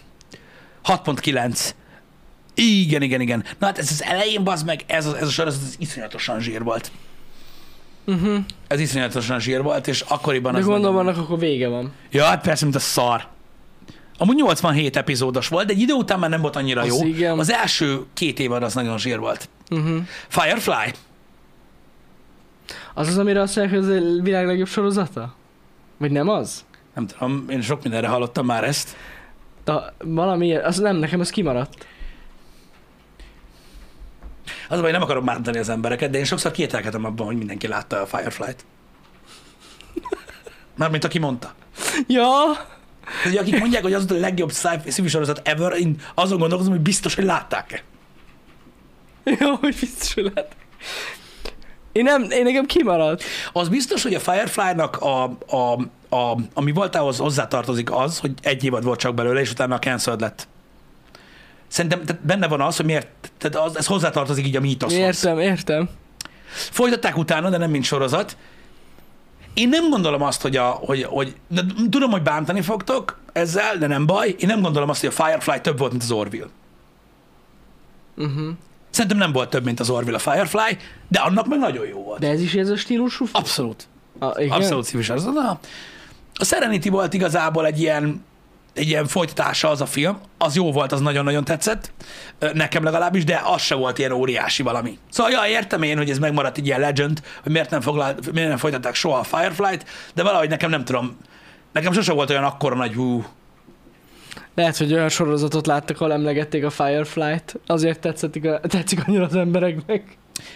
6.9. Igen, igen, igen. Na hát ez az elején, bazd meg, ez, a- ez a sorozat ez iszonyatosan zsír volt. Uh-huh. Ez iszonyatosan zsír volt, és akkoriban De az gondolom, nagyon- annak akkor vége van. Ja, hát persze, mint a szar. Amúgy 87 epizódos volt, de egy idő után már nem volt annyira Az jó. igen. Az első két évad az nagyon zsír volt. Uh-huh. Firefly. Az az, amire azt mondják, hogy ez a világ legjobb sorozata? Vagy nem az? Nem tudom, én sok mindenre hallottam már ezt. De valami ilyen, az nem, nekem ez kimaradt. Az a baj, nem akarom bántani az embereket, de én sokszor kételkedem abban, hogy mindenki látta a Firefly-t. Mármint aki mondta. Ja, Tehát, hogy akik mondják, hogy az volt a legjobb sci-fi sci-fi sorozat ever, én azon gondolkozom, hogy biztos, hogy látták-e. jó, hogy biztos hogy lehet. Én nem, én nekem kimaradt. Az biztos, hogy a Firefly-nak a, a, a, ami voltához hozzátartozik az, hogy egy évad volt csak belőle, és utána a cancelled lett. Szerintem tehát benne van az, hogy miért, tehát az, ez hozzátartozik így a mítoszhoz. Értem, értem. Folytatták utána, de nem mint sorozat. Én nem gondolom azt, hogy a, hogy, hogy de tudom, hogy bántani fogtok ezzel, de nem baj. Én nem gondolom azt, hogy a Firefly több volt, mint az Orville. Uh-huh. Szerintem nem volt több, mint az Orville a Firefly, de annak meg nagyon jó volt. De ez is ez a stílusú? f- Abszolút. A, igen. Abszolút szívesen. Az, a, a Serenity volt igazából egy ilyen egy ilyen folytatása az a film, az jó volt, az nagyon-nagyon tetszett, ö, nekem legalábbis, de az se volt ilyen óriási valami. Szóval, ja, értem én, hogy ez megmaradt egy ilyen legend, hogy miért nem, foglal, miért nem folytatták soha a Firefly-t, de valahogy nekem nem tudom, nekem sose volt olyan akkora nagy hú, Lehet, hogy olyan sorozatot láttak, ahol emlegették a Firefly-t. Azért tetszett, iga- tetszik annyira az embereknek.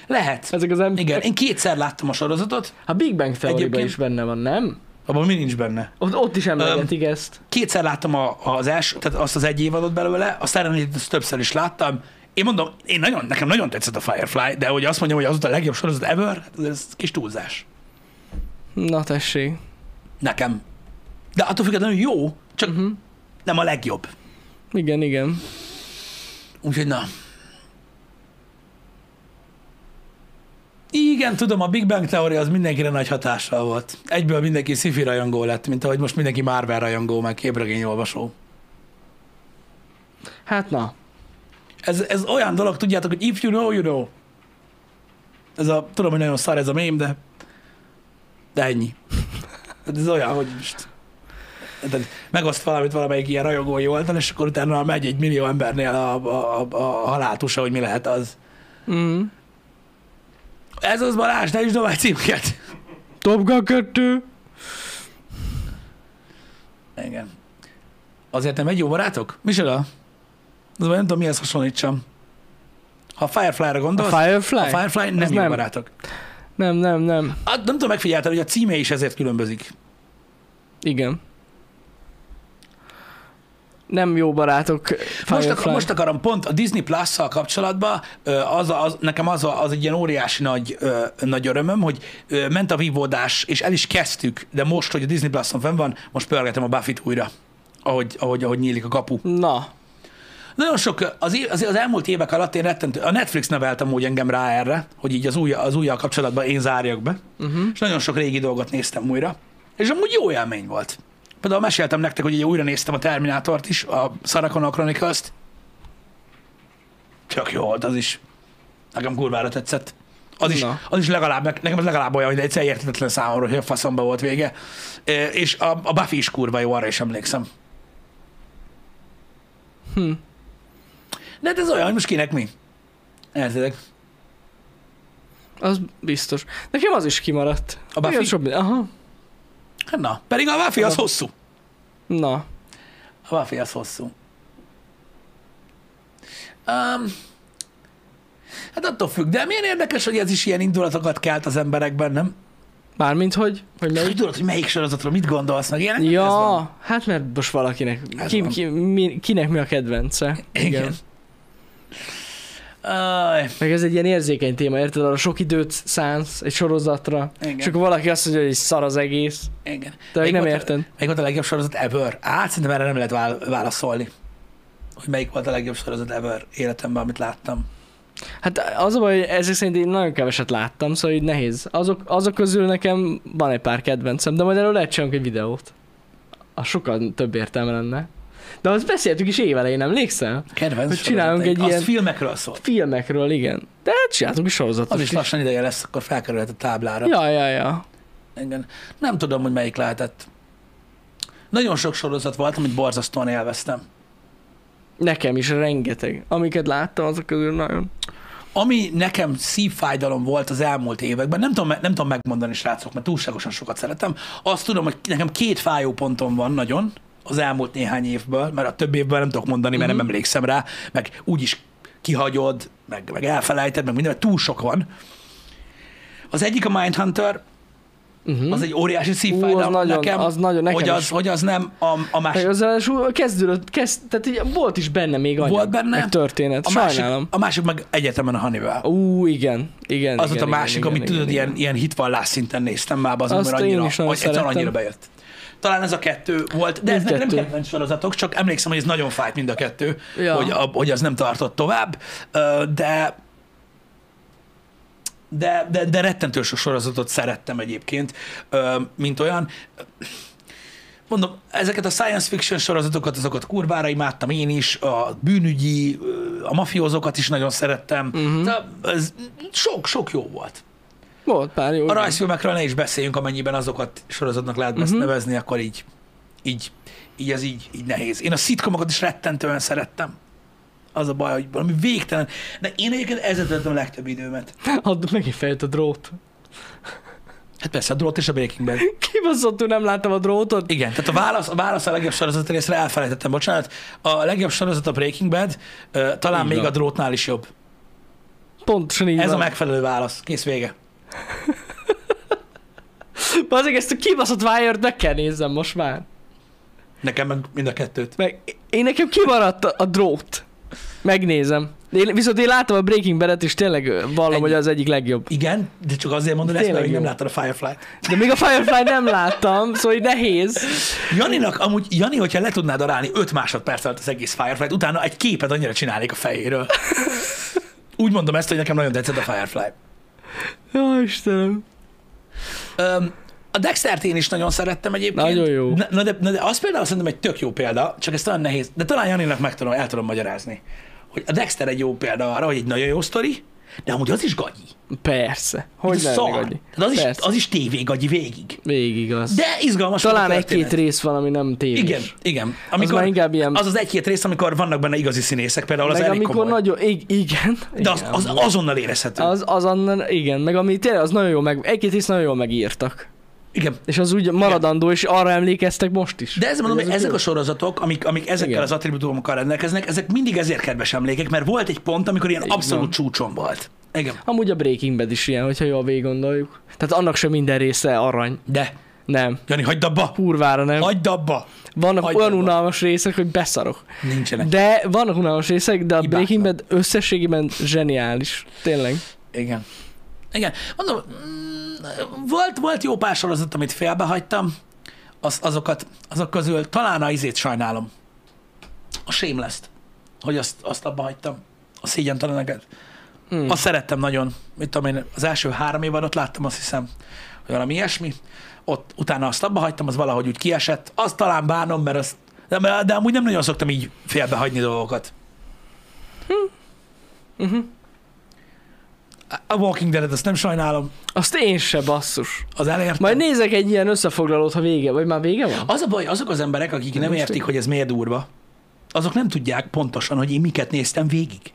lehet. Ezek az emberek. Igen, én kétszer láttam a sorozatot, A Big Bang theory Egyébként- is benne van, nem? abban mi nincs benne. Ott, ott is emlegetik ezt. kétszer láttam a, az első, tehát azt az egy évadot belőle, a Serenity-t azt többször is láttam. Én mondom, én nagyon, nekem nagyon tetszett a Firefly, de hogy azt mondjam, hogy az volt a legjobb sorozat ever, hát ez kis túlzás. Na tessék. Nekem. De attól függetlenül jó, csak uh-huh. nem a legjobb. Igen, igen. Úgyhogy na. Igen, tudom, a Big Bang teória az mindenkire nagy hatással volt. Egyből mindenki sci rajongó lett, mint ahogy most mindenki Marvel rajongó, meg képregényolvasó. Hát na. Ez, ez olyan dolog, tudjátok, hogy if you know, you know. Ez a, tudom, hogy nagyon szar ez a mém, de de ennyi. Tehát Ez olyan, hogy most tehát megoszt valamit valamelyik ilyen rajongói oldal, és akkor utána megy egy millió embernél a, a, a, a haláltusa, hogy mi lehet az. Mm. Ez az Balázs, ne is dobálj címket! Top Gun 2. Igen. Azért nem egy jó barátok? Micsoda? Az nem tudom, mihez hasonlítsam. Ha Firefly-ra A gondolsz, a Firefly? Firefly, nem Az jó nem. barátok. Nem, nem, nem. Ah, nem tudom, megfigyelted, hogy a címe is ezért különbözik. Igen. Nem jó barátok. Most, Firefly. ak- most akarom pont a Disney Plus-szal kapcsolatban, ö, az, a- az, nekem az, a, az egy ilyen óriási nagy, ö, nagy örömöm, hogy ö, ment a vívódás, és el is kezdtük, de most, hogy a Disney Plus-on fenn van, most pörgetem a Buffy-t újra, ahogy, ahogy, ahogy nyílik a kapu. Na. Nagyon sok, ö, az, év, az, az elmúlt évek alatt én rettentő, a Netflix nevelt amúgy engem rá erre, hogy így az új, az újjal kapcsolatban én zárjak be, uh-huh. és nagyon sok régi dolgot néztem újra, és amúgy jó élmény volt. Például meséltem nektek, hogy így újra néztem a Terminátort is, a Saracona Chronicles-t. Csak jó volt az is. Nekem kurvára tetszett. Az is, Na. az is legalább, nekem az legalább olyan, hogy egyszer értetetlen számomra, hogy a faszomba volt vége. Ö, És a, a Buffy is kurva jó, arra is emlékszem. Hm. De hát ez olyan, hogy most kinek mi. Értedek? Az biztos. Nekem az is kimaradt. A Buffy? Igen, sok- Aha. Hát na, pedig a Buffy az Aha. hosszú. Na. A Buffy az hosszú. Um, hát attól függ, de milyen érdekes, hogy ez is ilyen indulatokat kelt az emberekben, nem? Mármint hogy? Hogy Melyik? melyik? Hogy tudod, hogy melyik sorozatról mit gondolsz, meg ilyenek? Ez Ja, van. hát mert most valakinek, Ez ki, van. ki, mi, kinek mi a kedvence. Igen. Aj, Meg ez egy ilyen érzékeny téma, érted? Arra sok időt szánsz egy sorozatra, igen, és akkor valaki azt mondja, hogy szar az egész. igen. Te Melyik még nem volt a- érted. Melyik volt a legjobb sorozat ever? Á, szerintem erre nem lehet vál- válaszolni. Hogy melyik volt a legjobb sorozat ever életemben, amit láttam. Hát az a baj, hogy ezek szerint én nagyon keveset láttam, szóval így nehéz. Azok, azok közül nekem van egy pár kedvencem, de majd erről lehet csinálunk egy videót. A sokkal több értelme lenne. De azt beszéltük is évelején, emlékszel? Kedvenc Hogy csinálunk sorozataink. egy Azt ilyen- filmekről szólt. Filmekről, igen. De hát csináltunk is sorozatot Az is lassan ideje lesz, akkor felkerülhet a táblára. Ja, ja, ja. Igen. Nem tudom, hogy melyik lehetett. Nagyon sok sorozat volt, amit borzasztóan élveztem. Nekem is rengeteg. Amiket láttam, azok közül nagyon. Ami nekem szívfájdalom volt az elmúlt években, nem tudom, nem tudom megmondani, srácok, mert túlságosan sokat szeretem, azt tudom, hogy nekem két fájó pontom van nagyon az elmúlt néhány évből, mert a több évből nem tudok mondani, mert mm-hmm. Mhm. nem emlékszem rá, meg úgyis kihagyod, meg, meg elfelejted, meg minden, mert túl sok van. Az egyik a Mindhunter, Uh-huh. az egy óriási Ú, az szívfájdalom nagyon, nekem, az nagyon, nekem hogy, is. az, hogy az nem a, a másik Meg az ráadásul kezdődött, kezd, tehát így volt is benne még anyag, Volt benne. meg történet. A másik, Sajnálom. a másik meg egyetemen a Hannibal. Ú, igen, igen. Az igen, volt a igen, másik, igen, amit igen, tudod, igen. ilyen, ilyen hitvallás szinten néztem már, az Azt mert én annyira, is nagyon hogy egyszerűen szerettem. annyira bejött. Talán ez a kettő volt, de Mind ez nekem nem kettő. kedvenc sorozatok, csak emlékszem, hogy ez nagyon fájt mind a kettő, Ja. hogy, a, hogy az nem tartott tovább, Ö, de de, de, de rettentő sok sorozatot szerettem egyébként, ö, mint olyan. Mondom, ezeket a science fiction sorozatokat, azokat kurvára imádtam én is, a bűnügyi, ö, a mafiózókat is nagyon szerettem. Uh-huh. De ez sok-sok jó volt. Volt pár jó. A igen. Mhm. rajzfilmekről ne is beszéljünk, amennyiben azokat sorozatnak lehet uh-huh. nevezni, akkor így, így, így ez így, így nehéz. Én a szitkomokat is rettentően szerettem. Az a baj, hogy valami végtelen. De én egyébként ezzel töltöm a legtöbb időmet. Add megint fejt a drót. Hát persze, a drót és a Breaking Bad. Kibaszottul nem láttam a drótot. Igen, tehát a válasz, a, válasz a legjobb sorozat részre elfelejtettem, bocsánat. A legjobb sorozat a Breaking Bad, ö, talán Így még van. a drótnál is jobb. Pontosan így Ez a van. megfelelő válasz. Kész vége. Bazzik, ezt a kibaszott wire meg kell nézzem most már. Nekem meg mind a kettőt. Meg, én nekem kimaradt a, a drót. Megnézem. Én, viszont én látom a Breaking Bad-et, és tényleg ö, vallom, Egy- hogy az egyik legjobb. Igen, de csak azért mondod ezt, Tényleg mert még nem jó. láttad a Firefly-t. De még a Firefly nem láttam, szóval így nehéz. Janinak, amúgy, Jani, hogyha le tudnád darálni 5 másodperc alatt az egész Firefly-t, utána egy képet annyira csinálnék a fejéről. Úgy mondom ezt, hogy nekem nagyon tetszett a Firefly. Jó Istenem. Öm, a Dextert én is nagyon szerettem egyébként. Nagyon jó. Na, na, de, na de az például szerintem egy tök jó példa, csak ez talán nehéz, de talán Janinak meg tudom, el tudom magyarázni, hogy a Dexter egy jó példa arra, hogy egy nagyon jó sztori, de amúgy az is gagyi. Persze. Hogy Ez ne szar. megadj. Tehát az, is, Persze. az is tévé gagyi végig. Végig az. De izgalmas. Talán volt a történet. egy-két rész van, ami nem tévés. Igen, igen. Amikor, az már inkább ilyen... az, az egy-két rész, amikor vannak benne igazi színészek, például az meg elég amikor komoly. nagyon... ig- Igen. de az, az, azonnal érezhető. Az, az annan, igen, meg ami tényleg, az nagyon jó meg, egy-két rész nagyon jól megírtak. Igen. És az úgy maradandó, és arra emlékeztek most is. De ezzel mondom, hogy azok ezek jó. a sorozatok, amik, amik ezekkel Igen. az attribútumokkal rendelkeznek, ezek mindig ezért kedves emlékek, mert volt egy pont, amikor ilyen abszolút van. csúcson volt. Igen. Amúgy a Breaking Bad is ilyen, hogyha jól végig gondoljuk. Tehát annak sem minden része arany. De, Nem. Jani, hagyd abba! Kurvára nem. Hagyd abba! Vannak hagyd olyan abba. unalmas részek, hogy beszarok. Nincsenek. De... De vannak unalmas részek, de a Hibátlan. Breaking Bad összességében zseniális. Tényleg. Igen. Igen. Mondom, mm, volt, volt jó pár sorozat, amit félbehagytam, az, azokat, azok közül talán a izét sajnálom. A shameless hogy azt, azt abba hagytam. A szégyenteleneget. Hmm. Azt szerettem nagyon, mit tudom én, az első három évben ott láttam, azt hiszem, hogy valami ilyesmi. Ott utána azt abba hagytam, az valahogy úgy kiesett. Azt talán bánom, mert azt, de, de amúgy nem nagyon szoktam így félbehagyni dolgokat. A Walking Dead-et azt nem sajnálom, Azt én se basszus. az elértem. Majd nézek egy ilyen összefoglalót, ha vége, vagy már vége van? Az a baj, azok az emberek, akik nem, Nem is értik, tudjuk. hogy ez miért durva, azok nem tudják pontosan, hogy én miket néztem végig.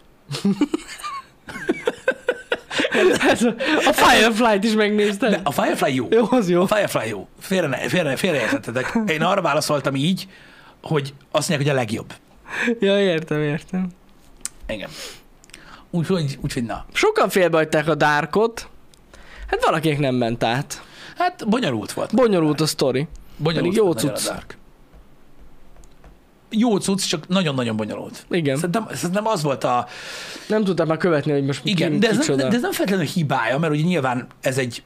Ez a, a Firefly-t is De megnézted. a Firefly jó. Jó, az jó. A Firefly jó. Félre, ne- félre, félreértettetek. Én arra válaszoltam így, hogy azt mondják, hogy a legjobb. Ja, értem, értem. Engem. Úgyhogy, úgyhogy na. Sokan félbehagyták a dárkot. Hát valakinek nem ment át. Hát bonyolult volt. Bonyolult a sztori. Bonyolult Pedig jó volt nagyon cucc. a Dark. Jó cucc, csak nagyon-nagyon bonyolult. Igen. Szerintem, szerintem az volt a... Nem tudták már követni, hogy most Igen, ki, de, ez nem, kicsoda. de ez nem feltétlenül hibája, mert ugye nyilván ez egy...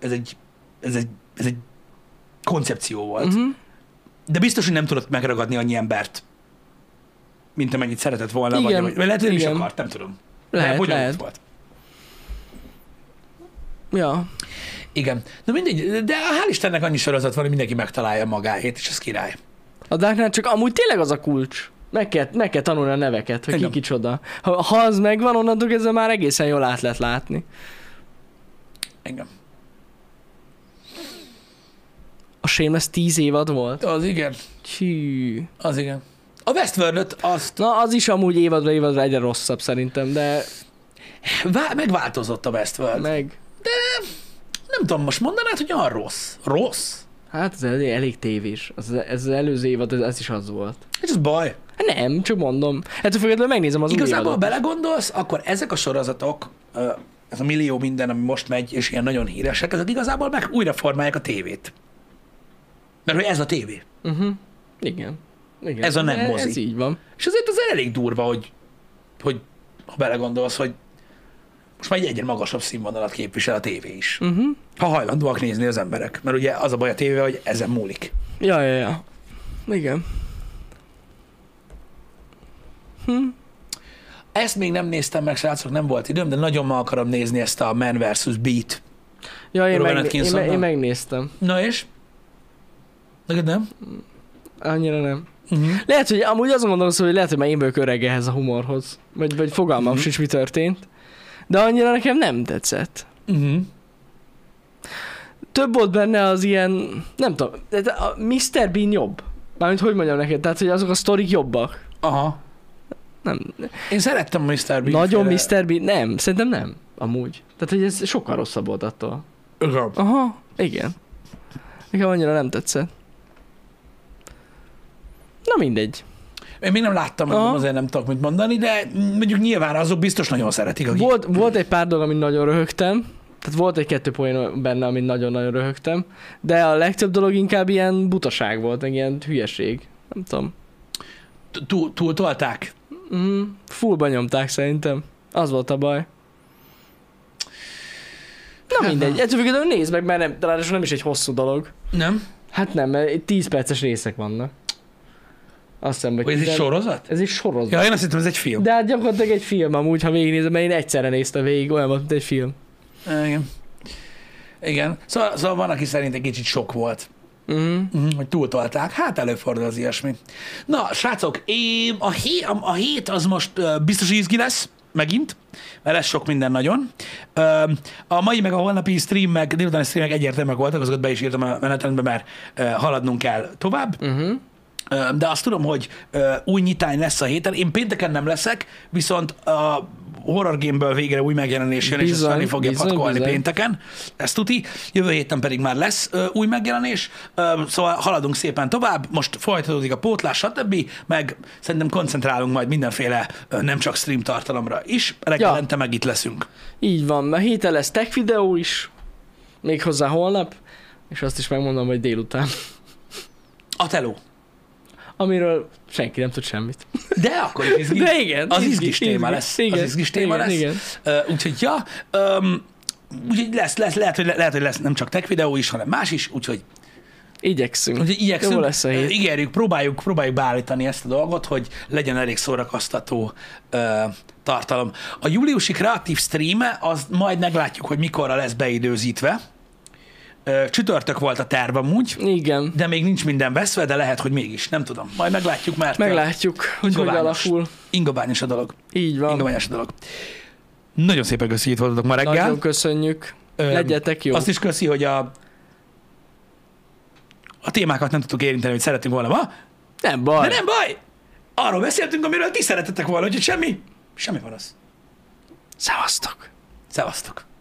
Ez egy... Ez egy, ez egy koncepció volt. Uh-huh. uh-huh. De biztos, hogy nem tudott megragadni annyi embert, mint amennyit szeretett volna. Igen, Vagy, vagy lehet, hogy nem is igen. akart, nem tudom. Lehet, bonyolult lehet. volt. Ja. Igen. Na mindegy, de hál' Istennek annyi sorozat van, hogy mindenki megtalálja magáét, és ez király. A Darknál csak amúgy tényleg az a kulcs. Meg kell, meg kell tanulni a neveket, hogy ki Igen. kicsoda. Ha, ha az megvan, onnantól ezzel már egészen jól át lehet látni. Engem. A Shameless 10 évad volt. Az igen, Hű. az igen. A westworld azt Na, az is amúgy évadra évadra egyre rosszabb szerintem, de vá- megváltozott a Westworld. Ne. meg... Nem tudom, most mondanád, hogy olyan rossz. Rossz? Hát ez elég, elég tévés. Az, ez az előző évad, ez, ez is az volt. Hát ez baj. Hát nem, csak mondom. Ettől függetlenül megnézem az új Igazából, ha évadot. belegondolsz, akkor ezek a sorozatok, ö, ez a millió minden, ami most megy, és ilyen nagyon híresek, ezek igazából meg újraformálják a tévét. Mert hogy ez a tévé. Uh-huh. Igen. Igen. Ez a nem ez, mozi. Ez így van. És azért az elég durva, hogy, hogy ha belegondolsz, hogy most már egy egyre magasabb színvonalat képvisel a tévé is. Uh-huh. Ha hajlandóak nézni az emberek. Mert ugye az a baj a tévé, hogy ezen múlik. Ja, ja, ja. Igen. Hm. Ezt még nem néztem meg, srácok, nem volt időm, de nagyon ma akarom nézni ezt a Man vs. Beat. Ja, én, Robert meg, én, Atkinsonnal? me- én megnéztem. Na és? Neked nem? Annyira nem. Uh-huh. Lehet, hogy amúgy azon gondolsz, hogy lehet, hogy már én vagyok öreg ehhez a humorhoz. Vagy, vagy fogalmam Mhm. sincs, mi történt. De annyira nekem nem tetszett. Uh-huh. Több volt benne az ilyen, nem tudom, de a Mr. Bean jobb. Mármint hogy mondjam neked, tehát hogy azok a sztorik jobbak. Aha. Nem. Én szerettem a Mr. Bean. Nagyon féle- Mr. Bean? Nem, szerintem nem. Amúgy. Tehát, hogy ez sokkal rosszabb volt attól. Igen. Aha, igen. Nekem annyira nem tetszett. Na mindegy. Én még nem láttam, Aha. mondom, azért nem tudok mit mondani, de mondjuk nyilván azok biztos nagyon szeretik, akik... Volt, volt egy pár dolog, amit nagyon röhögtem. Tehát volt egy-kettő poén benne, amit nagyon-nagyon röhögtem. De a legtöbb dolog inkább ilyen butaság volt, meg ilyen hülyeség. Nem tudom. Túl- Túltolták. Mm, fullba nyomták szerintem. Az volt a baj. Hát Na mindegy, ettől függetlenül nézd meg, mert nem, ráadásul nem is egy hosszú dolog. Nem? Hát nem, mert itt 10 perces részek vannak. Azt hiszem, hogy Vagy ez egy tizen- sorozat? ez egy sorozat. Ja, én azt hittem, ez egy film. De hát gyakorlatilag egy film amúgy, ha végignézem, mert én egyszerre néztem végig, olyan volt, mint egy film. Igen. Igen. Szóval, szóval van, aki szerint egy kicsit sok volt, Mm. Mhm, hogy túltolták. Hát előfordul az ilyesmi. Na, srácok, én, a, hé, a, a hét az most ö, biztos izgi lesz, megint, mert lesz sok minden nagyon. Ö, a mai meg a holnapi stream meg, délutáni streamek egyértelműek voltak, azokat be is írtam a menetrendbe, mert ö, haladnunk kell tovább. Uh-huh. Ö, De azt tudom, hogy ö, új nyitány lesz a héten. Én pénteken nem leszek, viszont a horror gameből végre új megjelenés jön, és ezt Bizony, felé fogja bizony, patkolni bizony. pénteken. Ezt tuti. Jövő héten pedig már lesz ö, új megjelenés. Ö, Szóval haladunk szépen tovább. Most folytatódik a pótlás, stb. Meg szerintem koncentrálunk majd mindenféle ö, nem csak stream tartalomra is. Reggelente meg itt leszünk. Így van, mert héten lesz tech videó is, méghozzá holnap, és azt is megmondom, hogy délután, A teló. amiről senki nem tud semmit. De akkor is izgi. De igen. Az izgi- izgis téma izgi- lesz. Az izgis téma igen, lesz. Igen. Ö, úgyhogy, ja, öm, úgyhogy lesz, lesz, lehet, hogy, le, lehet, hogy lesz nem csak tech videó is, hanem más is, úgyhogy, Igyekszünk. úgyhogy igyekszünk, Jó lesz a hét. ö, ígérjük, próbáljuk, próbáljuk beállítani ezt a dolgot, hogy legyen elég szórakoztató ö, tartalom. A júliusi kreatív streame, az majd meglátjuk, hogy mikorra lesz beidőzítve. Ö, csütörtök volt a terv amúgy, Igen. de még nincs minden veszve, de lehet, hogy mégis, nem tudom. Majd meglátjuk, mert ö, Meglátjuk, hogy hogy Ingoványos. alakul. ingabányos a dolog. Így van. Ingományos dolog. Nagyon szépen köszi, hogy itt voltatok ma reggel. Nagyon köszönjük. Öm, Legyetek jó. Azt is köszi, hogy a a témákat nem tudtuk érinteni, hogy szerettünk volna ma, Nem baj. de nem baj! Arról beszéltünk, amiről ti szeretettek volna, úgyhogy semmi, semmi van az. Szevasztok. Szevasztok!